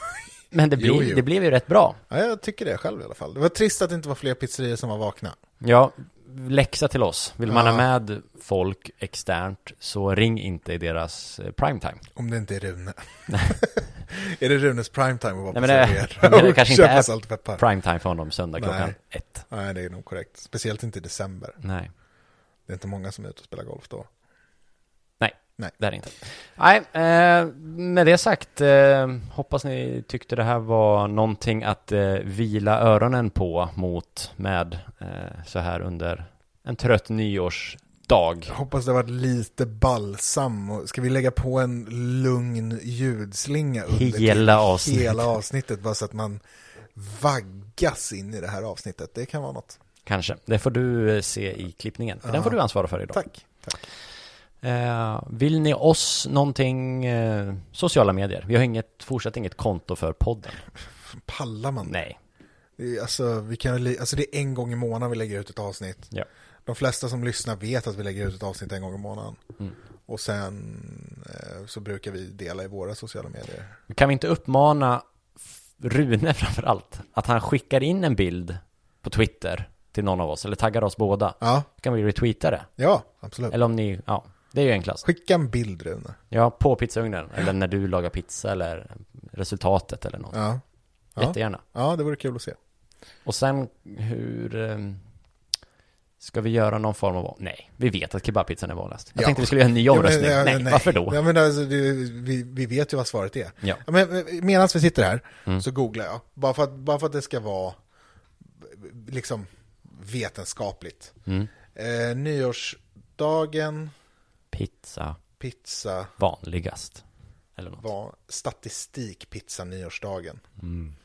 Speaker 3: Men det,
Speaker 2: [laughs]
Speaker 3: blir,
Speaker 2: Jo, jo.
Speaker 3: det blev ju rätt bra.
Speaker 2: Ja, jag tycker det själv i alla fall. Det var trist att det inte var fler pizzerier som var vakna.
Speaker 3: Ja, läxa till oss. Vill man
Speaker 2: Ja.
Speaker 3: ha med folk externt så ring inte i deras eh, primetime.
Speaker 2: Om det inte är Rune. [laughs] är det Runes primetime att vara
Speaker 3: Nej men det,
Speaker 2: pizzerier?
Speaker 3: jag menar, [laughs] det kanske inte
Speaker 2: Köpa salt och
Speaker 3: är
Speaker 2: peppar.
Speaker 3: primetime för honom söndag klockan
Speaker 2: Nej.
Speaker 3: ett.
Speaker 2: Nej, det är nog korrekt. Speciellt inte i december.
Speaker 3: Nej.
Speaker 2: Det är inte många som är ute och spelar golf då.
Speaker 3: Nej,
Speaker 2: Nej.
Speaker 3: det är det inte. Nej, eh, med det sagt, eh, hoppas ni tyckte det här var någonting att eh, vila öronen på mot med eh, så här under en trött nyårsdag.
Speaker 2: Jag hoppas det har varit lite balsam. Och Ska vi lägga på en lugn ljudslinga under
Speaker 3: Hela
Speaker 2: till-
Speaker 3: avsnittet.
Speaker 2: hela avsnittet? Bara så att man vaggas in i det här avsnittet. Det kan vara något.
Speaker 3: Kanske. Det får du eh, se i klippningen. För Den får du ansvara för idag.
Speaker 2: Tack. Tack.
Speaker 3: Eh, vill ni oss någonting eh, sociala medier? Vi har inget, fortsatt inget konto för podden.
Speaker 2: Pallar man?
Speaker 3: Nej.
Speaker 2: Det är- Alltså, vi kan, li- alltså det är en gång i månaden vi lägger ut ett avsnitt.
Speaker 3: Ja.
Speaker 2: De flesta som lyssnar vet att vi lägger ut ett avsnitt en gång i månaden. Och sen eh, så brukar vi dela i våra sociala medier.
Speaker 3: Kan vi inte uppmana F- Rune [laughs] framförallt att han skickar in en bild på Twitter till någon av oss eller taggar oss båda?
Speaker 2: Ja,
Speaker 3: Så kan vi retweeta det.
Speaker 2: ja absolut.
Speaker 3: Eller om ni, ja, det är ju enklast.
Speaker 2: Skicka en bild Rune.
Speaker 3: Ja, på pizzaugnen eller när du lagar pizza eller resultatet eller något.
Speaker 2: Ja. Ja.
Speaker 3: Jättegärna.
Speaker 2: ja, det vore kul att se.
Speaker 3: Och sen hur ehm, ska vi göra någon form av, nej, vi vet att kebabpizzan är vanligast. Jag
Speaker 2: Ja.
Speaker 3: tänkte vi skulle göra en ny omröstning.
Speaker 2: Ja, men, ja,
Speaker 3: nej, varför då?
Speaker 2: Ja, men alltså, det, vi, vi vet ju vad svaret är.
Speaker 3: Ja. Mm.
Speaker 2: Men, medan vi sitter här så googlar jag, bara för att, bara för att det ska vara liksom vetenskapligt.
Speaker 3: Mm.
Speaker 2: Eh, nyårsdagen,
Speaker 3: Pizza
Speaker 2: pizza,
Speaker 3: vanligast. Eller något.
Speaker 2: var statistik pizza nyårsdagen.
Speaker 3: Mm.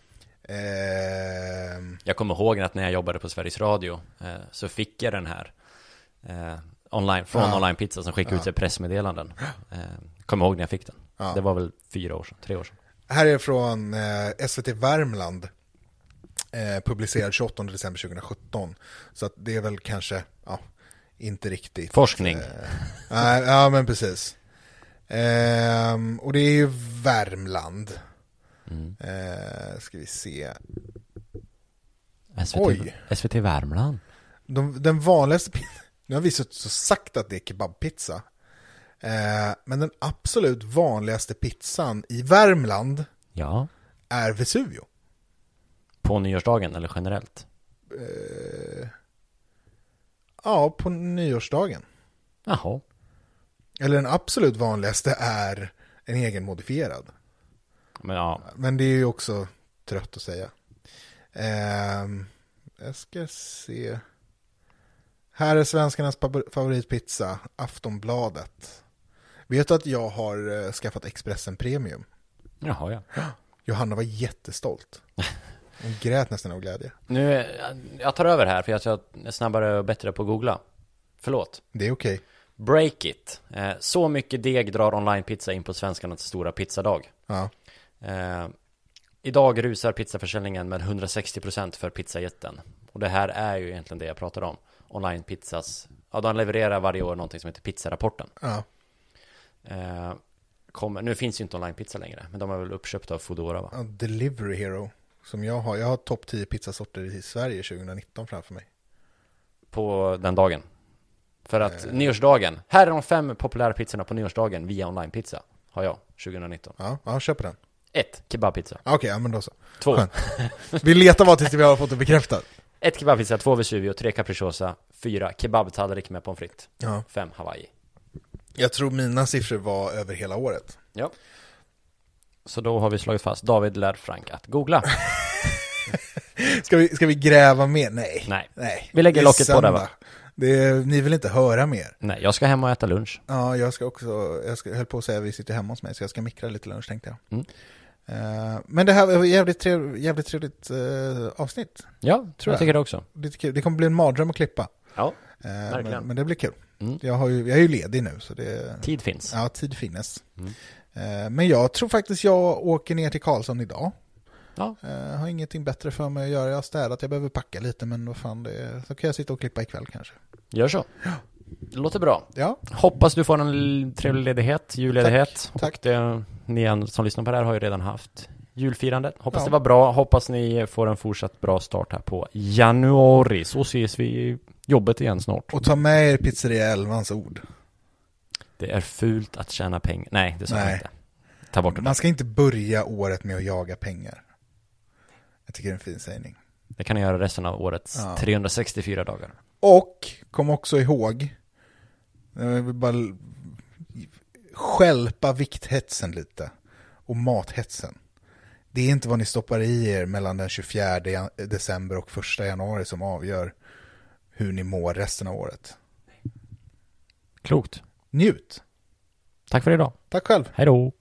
Speaker 2: Ehm,
Speaker 3: Jag kommer ihåg att när jag jobbade på Sveriges Radio eh, så fick jag den här eh, online, från
Speaker 2: Ja.
Speaker 3: Online Pizza som skickade ut sig pressmeddelanden. Eh, kommer ihåg när jag fick den.
Speaker 2: Ja.
Speaker 3: Det var väl fyra år sedan, tre år sedan.
Speaker 2: här är från eh, SVT Värmland. Eh, publicerad 28 december 2017. Så att det är väl kanske, ja, inte riktigt.
Speaker 3: Forskning.
Speaker 2: Eh, Nej, ja men precis. Ehm, och det är ju Värmland. Eh, ska vi se.
Speaker 3: SVT,
Speaker 2: oj.
Speaker 3: SVT Värmland.
Speaker 2: De, den vanligaste pizzan, nu har vi så, så sagt att det är kebabpizza. Eh, men den absolut vanligaste pizzan i Värmland
Speaker 3: Ja.
Speaker 2: är Vesuvio.
Speaker 3: På nyårsdagen eller generellt.
Speaker 2: Eh, Ja, på nyårsdagen.
Speaker 3: Jaha.
Speaker 2: Eller den absolut vanligaste är en egen modifierad.
Speaker 3: Men ja,
Speaker 2: Men det är ju också trött att säga. Ehm, jag ska se. Här är svenskarnas pab- favoritpizza, Aftonbladet. Vet du att jag har eh, skaffat Expressen Premium?
Speaker 3: jaha ja.
Speaker 2: Johanna var jättestolt. Hon grät nästan av glädje.
Speaker 3: Nu, eh, jag tar över här för jag tror att jag är snabbare och bättre på att googla. Förlåt.
Speaker 2: Det är okej.
Speaker 3: Break it. Eh, så mycket deg drar online pizza in på svenskarnas stora pizzadag.
Speaker 2: Ja.
Speaker 3: Eh, idag rusar pizzaförsäljningen med 160% för pizzajätten. Och det här är ju egentligen det jag pratar om. Online pizzas. Ja, de levererar varje år någonting som heter pizzarapporten.
Speaker 2: Ja.
Speaker 3: Eh, kommer, nu finns ju inte online pizza längre, men de är väl uppköpta av Foodora va?
Speaker 2: Ja, Delivery Hero, som jag har. Jag har topp 10 pizzasorter i Sverige 2019 framför mig.
Speaker 3: På den dagen. För att nyårsdagen, här är de fem populära pizzorna på nyårsdagen via online pizza. Har jag, 2019.
Speaker 2: Ja, ja köp den.
Speaker 3: 1. Kebabpizza.
Speaker 2: Ja, Okej, ja, men då så.
Speaker 3: Två.
Speaker 2: Skönt. Vi letar bara tills vi har fått det bekräftat.
Speaker 3: 1. Kebabpizza, 2. Vesuvio, 3. Capricciosa, 4. Kebabtallrik med pommes frites.
Speaker 2: Ja.
Speaker 3: 5. Hawaii.
Speaker 2: Jag tror mina siffror var över hela året.
Speaker 3: Ja. Så då har vi slagit fast, David lär Frank att [laughs] googla.
Speaker 2: Ska vi, ska vi gräva mer? Nej.
Speaker 3: Nej.
Speaker 2: Nej.
Speaker 3: Vi lägger
Speaker 2: Det är
Speaker 3: locket på där, va?
Speaker 2: söndag. Det är, ni vill inte höra mer.
Speaker 3: Nej, jag ska hem och äta lunch.
Speaker 2: Ja, jag ska också, jag ska, höll på att säga att vi sitter hemma hos mig, så jag ska mikra lite lunch tänkte jag.
Speaker 3: Mm.
Speaker 2: Eh, men det här var jävligt, trev, jävligt trevligt eh, avsnitt.
Speaker 3: Ja, tror jag. tycker det också.
Speaker 2: Lite kul. Det kommer bli en mardröm att klippa.
Speaker 3: Ja,
Speaker 2: Eh,
Speaker 3: Verkligen.
Speaker 2: men, men det blir kul.
Speaker 3: Mm.
Speaker 2: Jag, har ju, jag är ju ledig nu, så det...
Speaker 3: tid finns.
Speaker 2: Ja, tid finnes.
Speaker 3: Mm.
Speaker 2: Eh, Men jag tror faktiskt jag åker ner till Karlsson idag.
Speaker 3: Ja.
Speaker 2: Eh, har ingenting bättre för mig att göra. Jag har städat, jag behöver packa lite men vad fan det är. Så kan jag sitta och klippa ikväll kanske.
Speaker 3: Gör så. Det låter bra.
Speaker 2: Ja,
Speaker 3: Hoppas du får en l- trevlig ledighet, julledighet.
Speaker 2: Tack, tack.
Speaker 3: Och det, ni an- som lyssnar på det här har ju redan haft julfirande. Hoppas
Speaker 2: Ja.
Speaker 3: det var bra. Hoppas ni får en fortsatt bra start här på januari. Så ses vi i jobbet igen snart.
Speaker 2: och ta med er pizzeria Elvans ord.
Speaker 3: Det är fult att tjäna pengar. Nej, det sa jag
Speaker 2: Nej.
Speaker 3: inte. Ta bort det.
Speaker 2: Man ska inte börja året med att jaga pengar. Jag tycker det är en fin sägning.
Speaker 3: Det kan ni göra resten av årets
Speaker 2: Ja.
Speaker 3: 364 dagar.
Speaker 2: Och kom också ihåg, eh, jag vill bara l- skälpa vikthetsen lite och mathetsen. Det är inte vad ni stoppar i er mellan den 24 jan- december och 1 januari som avgör hur ni mår resten av året.
Speaker 3: Klokt.
Speaker 2: Njut!
Speaker 3: Tack för idag.
Speaker 2: Tack själv!
Speaker 3: Hej då.